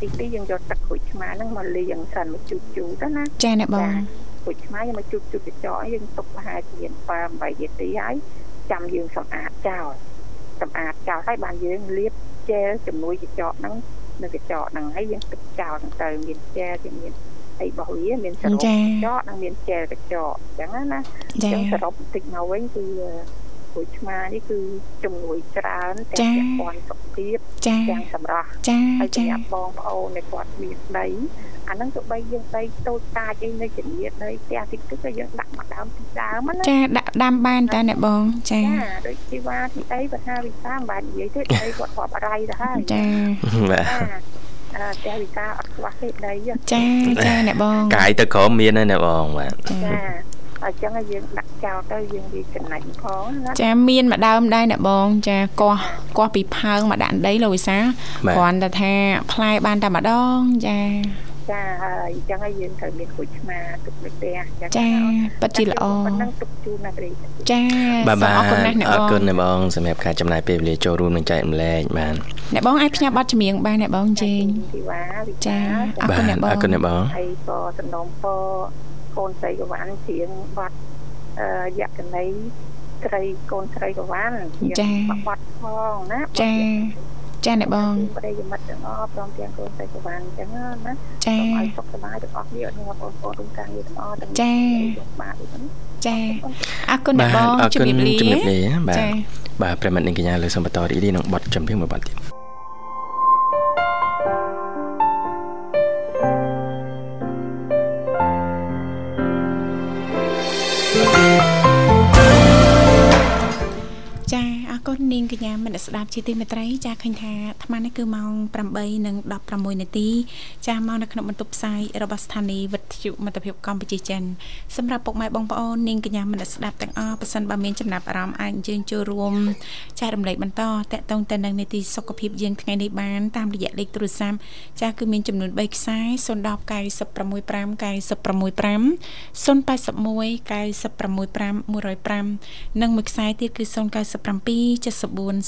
Speaker 5: ទីពីរយើងយកទឹកព្រួយឆ្មាហ្នឹងមកលាងសិនមកជូតជូតទៅណា
Speaker 1: ចាណាបង
Speaker 5: ព្រួយឆ្មាយើងមកជូតជូតកញ្ចក់ឲ្យយើងទុកប្រហែលជា5 8នាទីហើយចាំយើងសម្អាតចោលសម្អាតចោលហើយបានយើងលាបជែលជំនួយកញ្ចក់ហ្នឹងនៅកញ្ចក់ហ្នឹងហើយយើងទុកចោលហ្នឹងទៅមានជែលវាមានអីរបស់វាមានសរុបក
Speaker 1: ចា
Speaker 5: ញ្ចក់និងមានជែលកញ្ចក់អញ្ចឹងណាណា
Speaker 1: ចា
Speaker 5: ចឹងសរុបបន្តិចមកវិញគឺព្រួយឆ្មានេះគឺជំនួយច្រើន
Speaker 1: ចា៎
Speaker 5: ទាំងពាក់ព័ន្ធសុខភាព
Speaker 1: ចា
Speaker 5: ទាំងសម្រស់
Speaker 1: ចា
Speaker 5: ហើយ
Speaker 1: ចា
Speaker 5: សម្រាប់បងប្អូនដែលគាត់មានដីអាហ្នឹងទៅបីយើងដីតូចតាចអីនៅជំនាញដីផ្ទះតិចតិចក៏យើងដាក់មកដើមទីដើមហ្នឹងណា
Speaker 1: ចាដាក់ដាំបានតាណាបងចា
Speaker 5: ចាដូចជីវ៉ាទីអីបើថាវិសាមិនបាននិយាយទេដីគាត់ធ្លាប់អរៃទៅហើយ
Speaker 1: ចា
Speaker 4: បាទ
Speaker 5: ចាអាផ្ទះវិសាអត់ខ្វះទេដីហ្នឹង
Speaker 1: ចាចាណាបង
Speaker 4: កាយទៅក្រមមានហើយណាបងបាទ
Speaker 1: ចា
Speaker 5: ចាអញ្ចឹងឲ្យយើងដាក់ចោលទៅយើងវាចំណាច់ផងណា
Speaker 1: ចាមានម្ដើមដែរណាបងចាកោះកោះពីផើងមកដាក់ដីលោកវិសា
Speaker 4: បាទ
Speaker 1: គ្រាន់តែថាផ្លែបានតែម្ដងចា
Speaker 5: ចាហើយអញ្ចឹងហើយយើងត្រូវមានគួយឆ្មាទុកនៅផ្ទះអញ្ចឹង
Speaker 1: ចា
Speaker 5: ណា
Speaker 1: ប៉ិតជាល្អ
Speaker 5: ប៉ុណ្ណឹងទុកជូនណាប្រិយមិត្ត
Speaker 1: ចា
Speaker 4: បាទ
Speaker 1: សូ
Speaker 4: បាទ
Speaker 1: មអរគុណណាស់ណា
Speaker 4: អ
Speaker 1: ប
Speaker 4: រគុណ
Speaker 1: ង
Speaker 4: ណាបងសម្រាប់ការចំណាយពេលវេលាចូលរួមនិងចែករំលែកបាទ
Speaker 1: ណាបងអាចផ្ញើប័ណ្ណចម្រៀងបានណាបងជេង
Speaker 5: ជីវ៉ាវិ
Speaker 1: ចា
Speaker 5: ចា
Speaker 1: អរ
Speaker 4: បា
Speaker 1: គុណ
Speaker 4: ទ
Speaker 1: អ្នកបង
Speaker 4: អរគុណណាបង
Speaker 5: ហើយក៏សំណូមពរកូនស្រីកវ៉ាន់ជាងបាត់អឺយក្សនីត្រីកូនស្រីកវ៉ាន់
Speaker 1: ចា
Speaker 5: បាត់ផងណា
Speaker 1: ចាចាណាបង
Speaker 5: ប្រិយមិត្តទាំងអស់ព្រមទាំងកូនស្រីកវ៉ាន់អញ្ចឹងណាណា
Speaker 1: ចា
Speaker 5: សូមឲ្យសុខសប្បាយទាំងអស់គ្នាអរគុណបងប្អូនរួមការងារទាំងអស់ទាំង
Speaker 1: ចា
Speaker 5: លោកបាទដូចហ្នឹង
Speaker 1: ចាអរគុណអ្នក
Speaker 4: បា
Speaker 1: ប
Speaker 4: ទ
Speaker 1: ង
Speaker 4: អរគុ
Speaker 1: ជំ
Speaker 4: ណ
Speaker 1: រាបលា
Speaker 4: ជំរាបលាបាទ
Speaker 1: ចា
Speaker 4: បាទប្រិមត្តនិងកញ្ញាលើកសំបន្តរីករាយនឹងបទចម្រៀងមួយបទទៀត
Speaker 1: ចាអរគុណនាងកញ្ញាមនស្សស្ដាប់ជាទីមេត្រីចាឃើញថាអាត្មានេះគឺម៉ោង8:16នាទីចាមកនៅក្នុងបន្ទប់ផ្សាយរបស់ស្ថានីយ៍វិទ្យុមិត្តភាពកម្ពុជាចិនសម្រាប់ពុកម៉ែបងប្អូននាងកញ្ញាមនស្សស្ដាប់ទាំងអស់ប៉ះសិនបើមានចំណាប់អារម្មណ៍អាចអញ្ជើញចូលរួមចែករំលែកបន្តតកតងទៅនឹងនីតិសុខភាពយើងថ្ងៃនេះបានតាមរយៈលេខទូរស័ព្ទចាគឺមានចំនួន3ខ្សែ010 965 965 081965105និងមួយខ្សែទៀតគឺ097 74 0355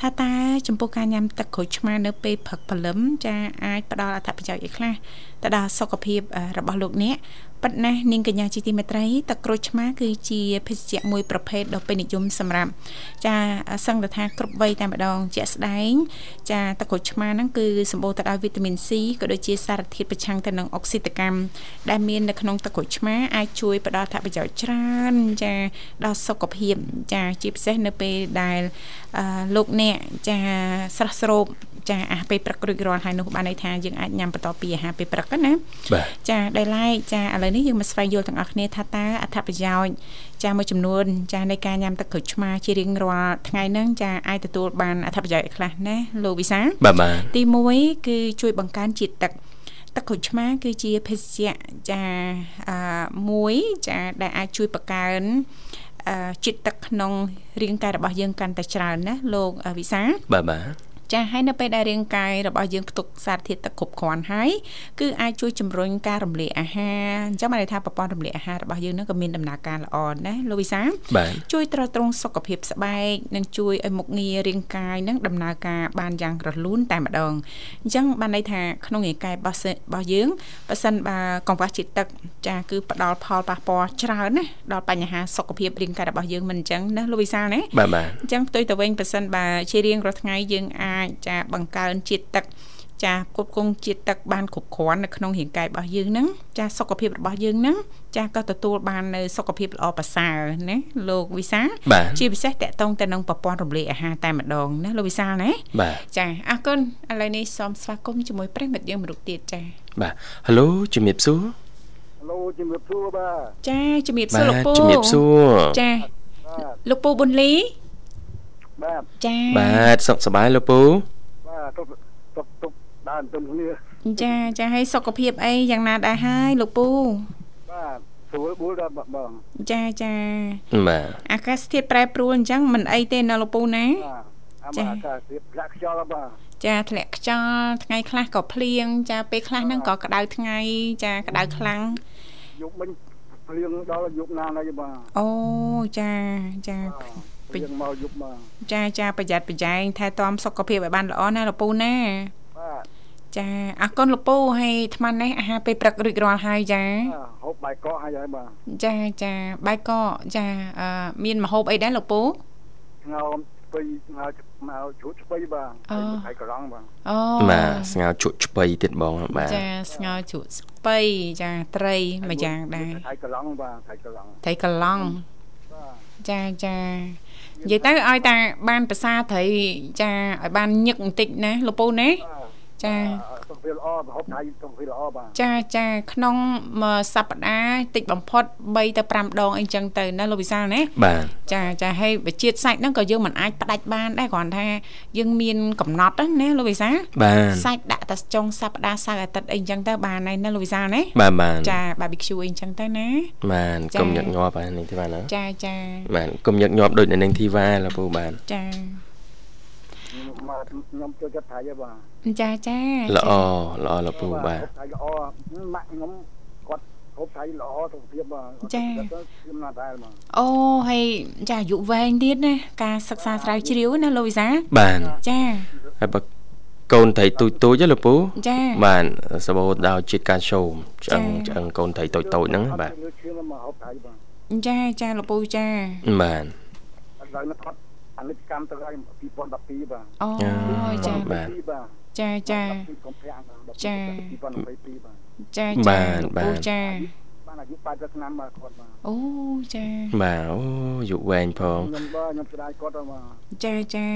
Speaker 1: ថាតើចំពោះការញ៉ាំទឹកក្រូចឆ្មានៅពេលព្រឹកព្រលឹមចាអាចផ្ដល់អត្ថប្រយោជន៍អីខ្លះទៅដល់សុខភាពអឺរបស់លោកអ្នកប៉ុន្តែនាងកញ្ញាជាទីមេត្រីទឹកក្រូចឆ្មាគឺជាភេសជ្ជៈមួយប្រភេទដ៏ពេញនិយមសម្រាប់ ចាសង្កត់ថាគ្រប់វ័យតែម្ដងជាក់ស្ដែង ចាទឹកក្រូចឆ្មាហ្នឹងគឺសម្បូរទៅដោយវីតាមីន C ក៏ដូចជាសារធាតុប្រឆាំងទៅនឹងអុកស៊ីតកម្មដែលមាននៅក្នុងទឹកក្រូចឆ្មាអាចជួយផ្ដល់អត្ថប្រយោជន៍ច្រើនចាដល់សុខភាពចាជាពិសេសនៅពេលដែលអឺលោកអ្នកចាស្រស់ស្រូបចាអាហារពេលព្រឹករួចរាល់ហើយនោះបានន័យថាយើងអាចញ៉ាំបន្តពីអាហារពេលព្រឹកហ្នឹងណា
Speaker 4: បាទ
Speaker 1: ចាដោយឡែកចាឥឡូវនេះយើងមកស្វែងយល់ទាំងអស់គ្នាថាតើអត្ថប្រយោជន៍ចាមួយចំនួនចានៃការញ៉ាំទឹកក្រូចឆ្មាជារៀងរាល់ថ្ងៃហ្នឹងចាអាចទទួលបានអត្ថប្រយោជន៍អីខ្លះណាលោកវិសាល
Speaker 4: បាទបាទ
Speaker 1: ទី1គឺជួយបង្កើនជាតិទឹកទឹកក្រូចឆ្មាគឺជាភេសជ្ជៈចាអឺមួយចាដែលអាចជួយបង្កើនអឺជាតិទឹកក្នុងរាងកាយរបស់យើងកាន់តែច្រើនណាលោកអឺវិសាល
Speaker 4: បាទបាទ
Speaker 1: ចាហើយនៅពេលដែលរាងកាយរបស់យើងផ្ទុកសារធាតុទឹកគ្រប់គ្រាន់ហើយគឺអាចជួយជំរុញការរំលាយអាហារអញ្ចឹងបានន័យថាប្រព័ន្ធរំលាយអាហាររបស់យើងនឹងក៏មានដំណើរការល្អណាស់លោកវិសាល
Speaker 4: បាទ
Speaker 1: ជួយទ្រទ្រង់សុខភាពស្បែកនិងជួយឲ្យមុខងាររាងកាយនឹងដំណើរការបានយ៉ាងរលូនតែម្ដងអញ្ចឹងបានន័យថាក្នុងរាងកាយរបស់សិរបស់យើងប៉ះសិនបើកង្វះជាតិទឹកចាគឺផ្ដល់ផលប៉ះពាល់ច្រើនណាស់ដល់បញ្ហាសុខភាពរាងកាយរបស់យើងមិនអញ្ចឹងណាលោកវិសាលណា
Speaker 4: បាទបាទ
Speaker 1: អញ្ចឹងផ្ទុយទៅវិញប៉ះសិនបើជារៀងរាល់ថ្ងៃយើងអាចចាបង្កើនជាតិទឹក ចាគ្រប់គង់ជាតិទឹកបានគ្រប់គ្រាន់នៅក្នុងរាងកាយរបស់យើងហ្នឹងចាសុខភាពរបស់យើងហ្នឹងចាក៏ទទួលបាននៅសុខភាពល្អប្រសើរណាលោកវិសាល
Speaker 4: បាទ
Speaker 1: ជាពិសេសតកតងទៅនឹងប្រព័ន្ធរំលាយអាហារតែម្ដងណាលោកវិសាលណា
Speaker 4: បាទ
Speaker 1: ចាអរគុណឥឡូវនេះសូមស្វាគមន៍ជាមួយប្រិមិត្តយើងមរុខទៀតចា
Speaker 4: បាទហៅជំរាបសួរ
Speaker 6: ឡូជំរាបសួរបាទ
Speaker 1: ចាជំរាបសួរលោកពូ
Speaker 4: ជំរាបសួរ
Speaker 1: ចា
Speaker 6: បាទ
Speaker 1: លោកពូប៊ុនលី
Speaker 6: បាទ
Speaker 1: ចា
Speaker 4: បាទសុខសប្បាយលោកពូ
Speaker 6: បាទទុកទុកទុកដើរទៅគ្នា
Speaker 1: ចាចាហើយសុខភាពអីយ៉ាងណាដែរហើយលោកពូ
Speaker 6: បាទស្រួលបួលដល់បងបង
Speaker 1: ចាចា
Speaker 4: បាទ
Speaker 1: អាកាសធាតុប្រែប្រួលអញ្ចឹងមិនអីទេណាលោកពូណា
Speaker 6: បាទអា
Speaker 1: ចា៎
Speaker 6: មកអាកាសធាតុផ្លាក់ខ្យល់បាទ
Speaker 1: ចាធ្លាក់ខ្យល់ថ្ងៃខ្លះក៏ភ្លៀងចាពេលខ្លះហ្នឹងក៏ក្តៅថ្ងៃចាក្តៅខ្លាំង
Speaker 6: យប់មិញព្រៀងដល់យប់ណាណៃបាទ
Speaker 1: អូចាចា
Speaker 6: ព្រៀងមកយប់មក
Speaker 1: ចាចាប្រយ័ត្នប្រយែងថែទាំសុខភាពឲ្យបានល្អណាលោកពូណា
Speaker 6: បាទ
Speaker 1: ចាអរគុណលោកពូហើយអាត្មានេះអាហារពេលព្រឹករួចរាល់ហើយចា
Speaker 6: បាទហូបបាយកកឲ្យហើយបាទ
Speaker 1: ចាចាបាយកកចាអឺមានម្ហូបអីដែរលោកពូ
Speaker 6: ងោមស្ពៃងោមកជ្រូកស្ពៃបាទ
Speaker 1: អូ
Speaker 6: ហើយកន្លងបាទ
Speaker 1: អូ
Speaker 4: បាទស្ងោរជក់ឆ្ពៃទៀតបងបាទ
Speaker 1: ចាស្ងោរជ្រក់ស្ពៃចាត្រីមួយយ៉ាងដែរ
Speaker 6: ហើយកន្លងបាទហើយកន្លង
Speaker 1: ត្រីកន្លង់
Speaker 6: បាទ
Speaker 1: ចាចានិយាយទៅឲ្យតាបានភាសាត្រីចាឲ្យបានញឹកបន្តិចណាលោកពូណា
Speaker 6: បាទ
Speaker 1: ចា
Speaker 6: សុខភាពល្អហូបថៃសុខភាពល្អបាទ
Speaker 1: ចាចាក្នុងមួយសប្តាហ៍តិចបំផុត3ទៅ5ដងអីចឹងទៅណាលោកវិសាលណា
Speaker 4: បាទ
Speaker 1: ចាចាហើយវិជាតិសាច់ហ្នឹងក៏យើងមិនអាចផ្ដាច់បានដែរគ្រាន់ថាយើងមានកំណត់ហ្នឹងណាលោកវិសាល
Speaker 4: បាទ
Speaker 1: សាច់ដាក់តែចុងសប្តាហ៍សៅរ៍អាទិត្យអីចឹងទៅបានហើយណាលោកវិសាលណា
Speaker 4: បាទបាទ
Speaker 1: ចា barbecue អីចឹងទៅណា
Speaker 4: បាទកុំញឹកញាប់ហ្នឹងនេះទេបាទណា
Speaker 1: ចាចា
Speaker 4: បាទកុំញឹកញាប់ដូចនៅនឹងធីវ៉ាលោកពូបាទ
Speaker 1: ចា
Speaker 6: មកខ្ញុំចូលចិត្តថៃហើយបាទ
Speaker 1: ចាចា
Speaker 4: ល្អល្អលោកពូបាទ
Speaker 6: ហូបថៃល្អម៉ាក់ខ្ញុំគាត់ហូបថៃល្អសុខភាពបាទគាត់ខ្ញុំណាស់ដែរមក
Speaker 1: អូហើយចាអាយុវែងទៀតណាការសិក្សាស្រាវជ្រាវណាលោកវិសាល
Speaker 4: បាន
Speaker 1: ចា
Speaker 4: ហើយបើកូនត្រីទូចទូចហ៎លោកពូ
Speaker 1: ចា
Speaker 4: បានសបោដល់ជាតិកាល់ស្យូមឆ្អឹង
Speaker 1: ចា៎
Speaker 4: ឆ្អឹងកូនត្រីតូចតូចហ្នឹងបាទ
Speaker 6: ខ្ញុំជឿមកហូបថៃបាទ
Speaker 1: ចាចាលោកពូចា
Speaker 4: បាទ
Speaker 6: ឥឡូវនេះគាត់អនុកម្មទៅហើយ2012បាទ
Speaker 1: អូចា
Speaker 4: បាទ
Speaker 6: បាទ
Speaker 1: ចាចា
Speaker 6: កុំប្រាំងបា
Speaker 1: ច
Speaker 6: ទ2022បាទ
Speaker 1: ាចាលោកពូចា
Speaker 6: បានអាយុ80ឆ្នាំបាទគាត់បាទ
Speaker 1: អូចា
Speaker 4: បាទអូយុវវែងផង
Speaker 6: ខ្ញុំបាទខ្ញុំស្ដាយគាត់បាទ
Speaker 1: ចាចា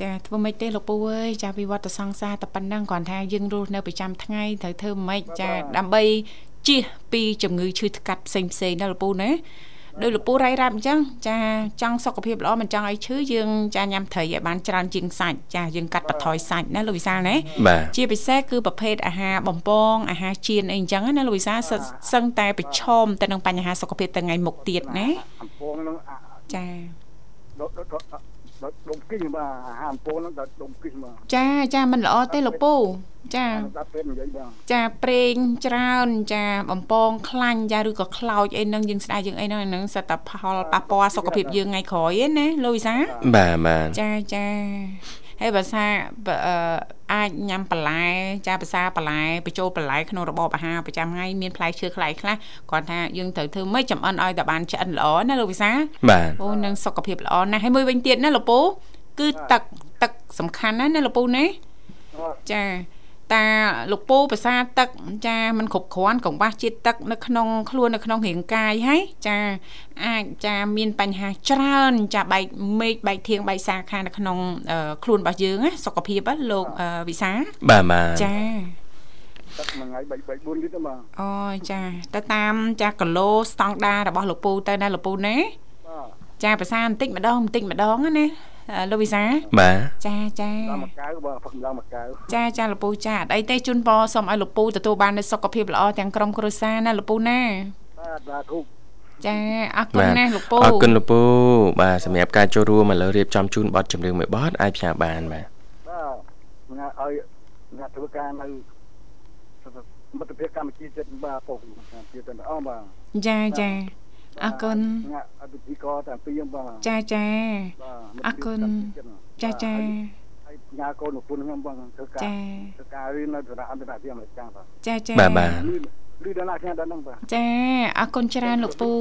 Speaker 1: ចាធ្វើម៉េចទេលោកពូអើយចាវិវត្តសង្សារតែប៉ុណ្ណឹងគ្រាន់ថាយើងរស់នៅប្រចាំថ្ងៃត្រូវធ្វើម៉េចចាដើម្បីជៀសពីជំងឺឈឺថ្កាត់ផ្សេងផ្សេងណាលោកពូណាដោយលោកពូរ៉ៃរ៉ាប់អញ្ចឹងចាចង់សុខភាពល្អមិនចង់ឲ្យឈឺយើងចាញ៉ាំត្រីឲ្យបានច្រើនជាងសាច់ចាយើងកាត់បន្ថយសាច់ណាលោកវិសាលណា
Speaker 4: បាទ
Speaker 1: ជាពិសេសគឺប្រភេទអាហារបំពងអាហារជៀនអីអញ្ចឹងណាលោកវិសាលសិតសឹងតែប្រឈមទៅនឹងបញ្ហាសុខភាពទៅថ្ងៃមុខទៀតណា
Speaker 6: អំពងនឹង
Speaker 1: ចា
Speaker 6: ដុតដុតដុំគីបាទអាហារអំពងនឹងដុតដុំគីបាទ
Speaker 1: ចាចាមិនល្អទេលោកពូចា
Speaker 6: ដាក់ពេលនិយាយបាទ
Speaker 1: ចាប្រេងច្រើនចាបំពងខ្លាញ់ចាឬក៏ខ្លោចអីហ្នឹងយើងស្ដាយយើងអីហ្នឹងអាហ្នឹងសិតតែផលប៉ះពាល់សុខភាពយើងថ្ងៃក្រោយឯណាលូយសា
Speaker 4: បាទបាទ
Speaker 1: ចាចាហើយភាសាបើអឺអាចញ៉ាំបន្លែចាភាសាបន្លែបញ្ចូលបន្លែក្នុងរបបអាហារប្រចាំថ្ងៃមានផ្លែឈើខ្លៃខ្លះគ្រាន់ថាយើងត្រូវធ្វើម៉េចចំអិនឲ្យតែបានឆ្អិនល្អណាលោកវិសាល
Speaker 4: បាទ
Speaker 1: អូនឹងសុខភាពល្អណាស់ហើយមួយវិញទៀតណាលោកពូគឺទឹកទឹកសំខាន់ណាស់ណាលោកពូណាចាតាលោកពូភាសាទឹកចាมันគ្រប់គ្រាន់កង្វះជាតិទឹកនៅក្នុងខ្លួននៅក្នុងរាងកាយហើយចាអាចចាមានបញ្ហាច្រើនចាបែកមេឃបែកធៀងបែកសាខានៅក្នុងអឺខ្លួនរបស់យើងណាសុខភាពណាលោកអឺវិសា
Speaker 4: បាទបាទ
Speaker 1: ចា
Speaker 6: ទឹកមួយថ្ងៃ3 4លីត្របាទ
Speaker 1: អូចាទៅតាមចាគីឡូស្តង់ដាររបស់លោកពូទៅណាលោកពូណា
Speaker 6: បាទ
Speaker 1: ចាភាសាបន្តិចម្ដងបន្តិចម្ដងណាអឺលោកវិសា
Speaker 4: បាទ
Speaker 1: ចាចា
Speaker 6: ដល់មកកៅបាទផឹកដល់មកកៅ
Speaker 1: ចាចាលកពូចាអត់អីទេជូនពរសូមឲ្យលកពូទទួលបាននូវសុខភាពល្អទាំងក្រុមគ្រួសារណាលកពូណា
Speaker 6: បាទបាទធូប
Speaker 1: ចាអរគុណណាស់លកពូ
Speaker 4: អរគុណលោកពូបាទសម្រាប់ការចូលរួមឥឡូវរៀបចំជូនបទចម្រៀងមួយបទអាចផ្សាយបានបាទ
Speaker 6: បាទណាឲ្យណាធ្វើការនៅមិត្តភាពកម្ពុជាចិត្តបាទពុកកម្ពុជាទាំងអស់បាទ
Speaker 1: ចាចាអរគុណ
Speaker 6: ណាអតិភិករតាំងពីយើងបាទ
Speaker 1: ចាចា
Speaker 6: បាទ
Speaker 1: អរគុណ ចាចា
Speaker 6: ហើយញ៉ាកូនប្រពន្ធខ្ញុំបាទធ្វើការ
Speaker 1: ចា
Speaker 6: ធ្វើការរៀននៅសារអន្តរជាតិអមេរិកបាទ
Speaker 1: ចាចា
Speaker 4: បាទបាទ
Speaker 6: ល ឬដល់ណាខ្ញុំដល់ហ្នឹងបាទ
Speaker 1: ចាអរគុណច្រើនលោកពូ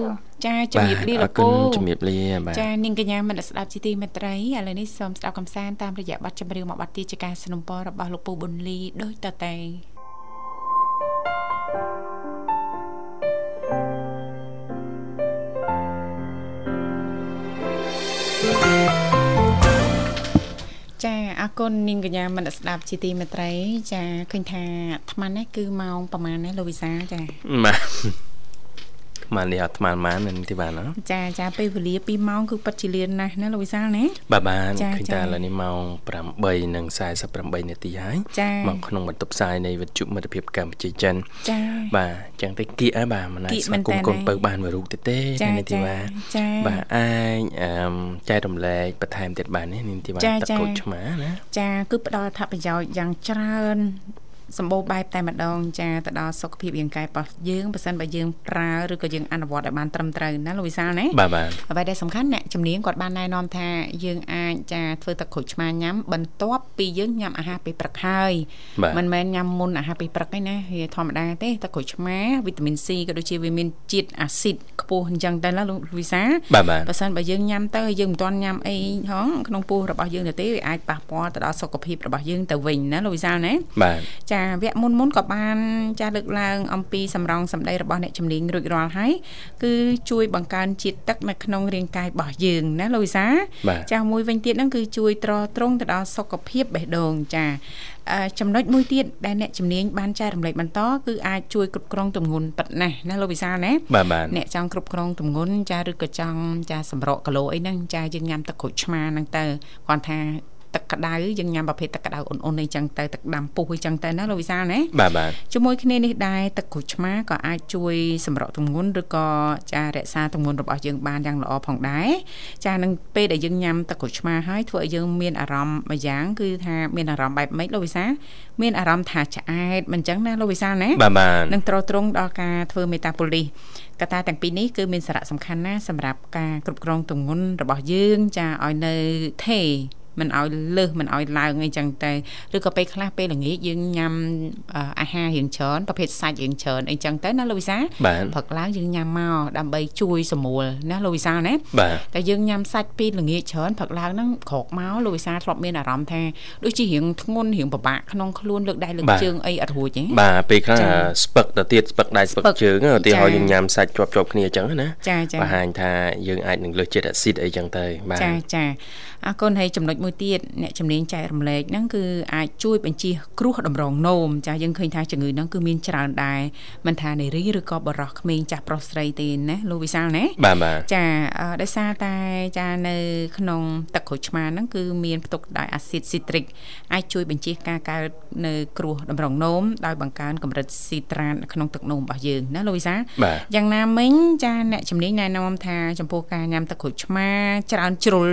Speaker 1: ចាជំរាបលា
Speaker 4: អ
Speaker 1: លោ
Speaker 4: រ
Speaker 1: ក
Speaker 4: គុ
Speaker 1: ពូ
Speaker 4: ណជំរាបលាបាទ
Speaker 1: ចានាងកញ្ញាមនស្សស្ដាប់ជាទីមេត្រីឥឡូវនេះសូមស្ដាប់កំសាន្តតាមរយៈបទចម្រៀងមួយបទទីជាការสนับสนุนរបស់លោកពូប៊ុនលីដូចតទៅចាអរគុណនាងកញ្ញាមនស្សស្ដាប់ជាទីមេត្រី ចាឃើញថាអាត្មាននេះគឺម៉ោងប្រហែលណាលោកវិសាលចា
Speaker 4: បាទមកនេះអត់ស្មានបាននឹងទីបានហ៎
Speaker 1: ចាចាពេលវេលា2ម៉ោងគឺប៉ັດជាលៀនណាស់ណាលោកវិសាលណា
Speaker 4: បាទបាន
Speaker 1: ចា
Speaker 4: ឃើញ
Speaker 1: ចា
Speaker 4: តើឥឡូវនេះម៉ោង8:48នាទីហើយ
Speaker 1: ចា
Speaker 4: មកក្នុងបន្ទប់ផ្សាយនៃវិទ្យុមិត្តភាពកម្ពុជាចិន
Speaker 1: ចា
Speaker 4: បាទអញ្ចឹងទៅគៀកហើយបាទមិនណា
Speaker 1: គៀកមែ
Speaker 4: ស្វា
Speaker 1: ន
Speaker 4: គមន៍កូន
Speaker 1: តើ
Speaker 4: ពៅបានមួយរូបទៀតទេ
Speaker 1: ចា
Speaker 4: នាងធីវ៉ា
Speaker 1: ចាចា
Speaker 4: បាទអាចអឺមចែករំលែកបន្ថែមទៀតបាននេះនាងធីវ៉ា
Speaker 1: ចា
Speaker 4: ទឹក
Speaker 1: ចា
Speaker 4: គោចឆ្មាណា
Speaker 1: ចាគឺផ្ដល់អត្ថប្រយោជន៍យ៉ាងច្រើនសម្បូរបែបតែម្ដងចាទៅដល់សុខភាពរាងកាយរបស់យើងប៉ះសិនបើយើងប្រើឬក៏យើងអនុវត្តឲ្យបានត្រឹមត្រូវណាលោកវិសាលណា
Speaker 4: បាទបាទ
Speaker 1: អ្វីដែលសំខាន់អ្នកជំនាញគាត់បានណែនាំថាយើងអាចចាធ្វើទឹកក្រូចឆ្មាញ៉ាំបន្ទាប់ពីយើងញ៉ាំអាហារពេលព្រឹកហើយ
Speaker 4: បាទ
Speaker 1: មិនមែនញ៉ាំមុនអាហារពេលព្រឹកទេណាវាធម្មតាទេទឹកក្រូចឆ្មាវីតាមីន C ក៏ដូចជាវាមានជាតិអាស៊ីតខ្ពស់អញ្ចឹងដែរណាលោកវិសាល
Speaker 4: បាទបាទ
Speaker 1: បើសិនបើយើងញ៉ាំទៅហើយយើងមិនទាន់ញ៉ាំអីហងក្នុងពោះរបស់យើងទៅទេវាអាចប៉ះពាល់ទៅដល់សុខភាពរបស់យើងទៅវិញណាលោកវិសាលណា
Speaker 4: បាទ
Speaker 1: ចាវគ្គមុនមុនៗក៏បានចាលើកឡើងអំពីសម្រងសម្ដីរបស់អ្នកជំនាញរួចរាល់ហើយគឺជួយបង្កើនជាតិទឹកនៅក្នុងរាងកាយរបស់យើងណាលោកវិសាល
Speaker 4: បាទ
Speaker 1: ចាស់មួយវិញទៀតហ្នឹងគឺជួយត្រត្រង់ទៅដល់សុខភាពបេះដូងចាអឺចំណុចមួយទៀតដែលអ្នកជំនាញបានចែករំលែកបន្តគឺអាចជួយគ្រប់គ្រងទម្ងន់ប៉ិតណាស់ណាលោកវិសាលណា
Speaker 4: បាទបាទ
Speaker 1: អ្នកចង់គ្រប់គ្រងទម្ងន់ចាឬក៏ចង់ចាសម្រក់គីឡូអីហ្នឹងចាយើងញ៉ាំទឹកក្រូចឆ្មាហ្នឹងទៅគ្រាន់ថាទឹកក្តៅយើងញ៉ាំប្រភេទទឹកក្តៅអ៊ុនៗអីចឹងទៅទឹកដាំពុះអីចឹងទៅណាលោកវិសាលណា
Speaker 4: បាទបាទ
Speaker 1: ជាមួយគ្នានេះដែរទឹកក្រូចឆ្មាក៏អាចជួយសម្រកទម្ងន់ឬក៏ចារក្សាទម្ងន់របស់យើងបានយ៉ាងល្អផងដែរចានឹងពេលដែលយើងញ៉ាំទឹកក្រូចឆ្មាហើយធ្វើឲ្យយើងមានអារម្មណ៍មួយយ៉ាងគឺថាមានអារម្មណ៍បែបម៉េចលោកវិសាលមានអារម្មណ៍ថាឆ្អែតមិនចឹងណាលោកវិសាលណា
Speaker 4: បាទបាទ
Speaker 1: នឹងត្រត្រង់ដល់ការធ្វើមេត្តាពលីសកត្តាទាំងពីរនេះគឺមានសារៈសំខាន់ណាស់សម្រាប់ការគ្រប់គ្រងទម្ងន់របស់យើងចាឲ្យនៅថេរមិនឲ្យលើសមិនឲ្យឡើងអីចឹងតែឬក៏ពេលខ្លះពេលល្ងាចយើងញ៉ាំអឺអាហាររៀងច្រើនប្រភេទសាច់រៀងច្រើនអីចឹងទៅណាលោកវិសាល
Speaker 4: បាទ
Speaker 1: ព្រឹកឡើងយើងញ៉ាំមកដើម្បីជួយសម្រួលណាលោកវិសាលណា
Speaker 4: បាទ
Speaker 1: តែយើងញ៉ាំសាច់ពីល្ងាចច្រើនផឹកឡើងហ្នឹងក្រកមកលោកវិសាលធ្លាប់មានអារម្មណ៍ថាដូចជារៀងធ្ងន់រៀងពិបាកក្នុងខ្លួនលើកដៃលើកជើងអីអត់រួចទេ
Speaker 4: បាទពេលខ្លះ
Speaker 1: ចា
Speaker 4: ស្ពឹកទៅទៀតស្ពឹកដៃស្ពឹក
Speaker 1: ស្ពឹក
Speaker 4: ជើងឧទាហរ
Speaker 1: ចា
Speaker 4: ណ៍យើងញ៉ាំសាច់ជាប់ជាប់គ្នាអញ្ចឹងណា
Speaker 1: ចាចា
Speaker 4: បង្ហាញថាយើងអាចនឹងលើសជាតិអាស៊ីតអីអញ្ចឹងទៅបាទ
Speaker 1: ចាចាអរគុណហើយចំណុចមួយទៀតអ្នកជំនាញចែករំលែកហ្នឹងគឺអាចជួយបញ្ជាគ្រោះតម្រងនោមចាយើងឃើញថាជំងឺហ្នឹងគឺមានច្រើនដែរមិនថានារីឬក៏បុរសក្មេងចាស់ប្រុសស្រីទេណាលោកវិសាលណា
Speaker 4: បាទបាទ
Speaker 1: ចាអឺដោយសារតែចានៅក្នុងទឹកក្រូចឆ្មាហ្នឹងគឺមានផ្ទុកដោយអាស៊ីតស៊ីត្រិកអាចជួយបញ្ជាការកើតនៅគ្រោះតម្រងនោមដោយបង្កើនកម្រិតស៊ីត្រាតនៅក្នុងទឹកនោមរបស់យើងណាលោកវិសាល
Speaker 4: បាទ
Speaker 1: យ៉ាងណាមិញចាអ្នកជំនាញណែនាំថាចំពោះការញ៉ាំទឹកក្រូចឆ្មាច្រើនជ្រុល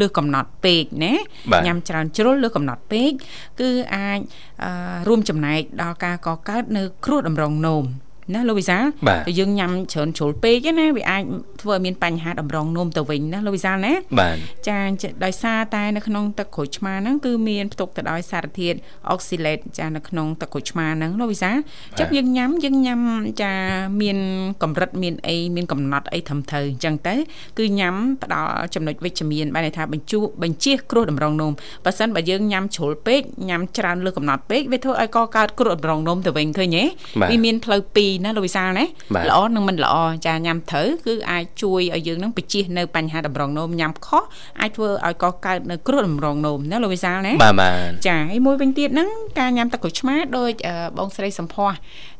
Speaker 1: លើសកំណត់ពេកណា
Speaker 4: បាទ
Speaker 1: ញ៉ាំច្រើនជ្រុលលើសកំណត់ពេកគឺអាចអឺរួមចំណែកដល់ការកកើតនៅគ្រោះតម្រងនោមណាលោកវិសាល
Speaker 4: បាទ
Speaker 1: តែយើងញ៉ាំច្រើនជ្រុលពេកឯណាវាអាចធ្វើឲ្យមានបញ្ហាតម្រងនោមទៅវិញណាលោកវិសាលណា
Speaker 4: បាទ
Speaker 1: ចាអញ្ចឹងដោយសារតែនៅក្នុងទឹកក្រូចឆ្មាហ្នឹងគឺមានផ្ទុកទៅដោយសារធាតុអុកស៊ីឡេតចានៅក្នុងទឹកក្រូចឆ្មាហ្នឹងលោកវិសាលអញ្ចឹងយើងញ៉ាំយើងញ៉ាំចាមានកម្រិតមានអីមានកំណត់អីត្រឹមត្រូវអញ្ចឹងទៅគឺញ៉ាំផ្ដល់ចំណុចវិជ្ជមានបែរន័យថាបញ្ជូបញ្ជះគ្រោះតម្រងនោមបើសិនបើយើងញ៉ាំជ្រុលពេកញ៉ាំច្រើនលើសកំណត់ពេកវាធ្វើឲ្យកកើតគ្រោះតម្រងនោមទៅវិញឃើញទេ
Speaker 4: បាទ
Speaker 1: វាមានផ្លូវពីរណាលោកវិសាលណា
Speaker 4: បាទ
Speaker 1: ល្អនិងមិនល្អចាញ៉ាំត្រូវគឺអាចជួយឲ្យយើងនឹងបញ្ជះនៅបញ្ហាតម្រងនោមញ៉ាំខុសអាចធ្វើឲ្យកកើតនៅគ្រោះតម្រងនោមណាលោកវិសាលណា
Speaker 4: បាទបាទ
Speaker 1: ចាហើយមួយវិញទៀតហ្នឹងការញ៉ាំទឹកក្រូចឆ្មាដោយអឺបងស្រីសំភ័ស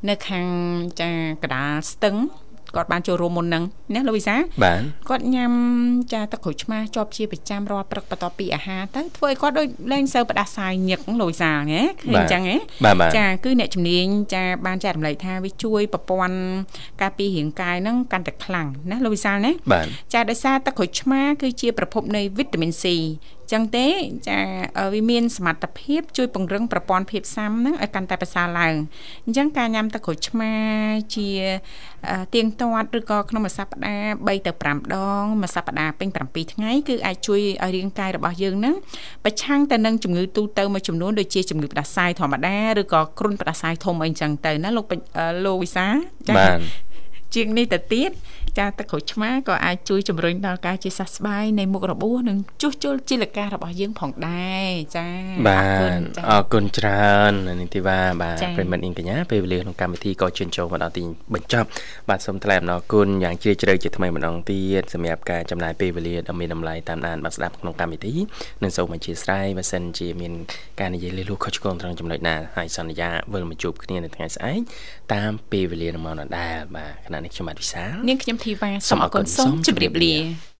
Speaker 1: នៅខាងចាកដាលស្ទឹងគាត់បានចូលរួមមុនហ្នឹងណាលោកវិសាល
Speaker 4: បាទ
Speaker 1: គាត់ញ៉ាំចាទឹកក្រូចឆ្មាជាប់ជាប្រចាំរាល់ព្រឹកបន្ទាប់ពីអាហារទៅធ្វើឲ្យគាត់ដូចលែងសូវផ្ដាសាយញឹកលោកវិសាលណាឃើញអញ្ចឹងហ៎
Speaker 4: បាទបាទ
Speaker 1: ចាគឺអ្នកជំនាញចាបានចែករំលែកថាវាជួយប្រព័ន្ធការពាររាងកាយហ្នឹងកាន់តែខ្លាំងណាលោកវិសាលណា
Speaker 4: បាទ
Speaker 1: ចាដោយសារទឹកក្រូចឆ្មាគឺជាប្រភពនៃវីតាមីន C ចឹងទេចាអឺវាមានសមត្ថភាពជួយពង្រឹងប្រព័ន្ធភាពស៊ាំហ្នឹងឲ្យកាន់តែប្រសើរឡើងអញ្ចឹងការញ៉ាំទឹកក្រូចឆ្មាជាអឺទៀងទាត់ឬក៏ក្នុងមួយសប្ ប្តាហ៍3ទៅ5ដងមួយសប្តាហ៍ពេញ7ថ្ងៃគឺអាចជួយឲ្យរាងកាយរបស់យើងហ្នឹងប្រឆាំងទៅនឹងជំងឺទូទៅមួយចំនួនដូចជាជំងឺផ្ដាសាយធម្មតាឬក៏គ្រុនផ្ដាសាយធំអីចឹងទៅណាលោកពេជ្រអឺលោកវិសាចា៎
Speaker 4: បាទ
Speaker 1: ជាងនេះទៅទៀតចាទឹកក្រូចឆ្មាក៏អាចជួយជំរុញដល់ការជាសះស្បើយនៃមុខរបួសនិងជួសជុលជីលការរបស់យើងផងដែរចា
Speaker 4: បា
Speaker 1: អរគុ
Speaker 4: ទ
Speaker 1: ណចា
Speaker 4: អរគុណច្រើននាងធីវ៉ាបាទ
Speaker 1: ចា៎
Speaker 4: ប្រិមត្តនាងកញ្ញាពេលវេលាក្នុងកម្មវិធីក៏ជឿនចូលមកដល់ទីបញ្ចប់បាទសូមថ្លែងអំណរគុណយ៉ាងជ្រាលជ្រៅជាថ្មីម្ដងទៀតសម្រាប់ការចំណាយពេលវេលាដ៏មានតម្លៃតាមដានបាទស្ដាប់ក្នុងកម្មវិធីនិងសូមអធិស្ឋានបើសិនជាមានការនិយាយលើសលួសខុសឆ្គងត្រង់ចំណុចណាហើយសន្យាវិលមកជួបគ្នានៅថ្ងៃស្អែកតាមពេលវេលានឹងមកដល់ដែរបាទខណៈនេះខ្ញុំបាទវិសាល
Speaker 1: នាងខ្ញុំធីវ៉ា
Speaker 4: សូ
Speaker 1: សូម
Speaker 4: ម
Speaker 1: អ
Speaker 4: អ
Speaker 1: រ
Speaker 4: រគុ
Speaker 1: គុណ
Speaker 4: ណ
Speaker 1: សូម
Speaker 4: សូម
Speaker 1: ជម្រាប
Speaker 4: ជម្រា
Speaker 1: លា
Speaker 4: បលា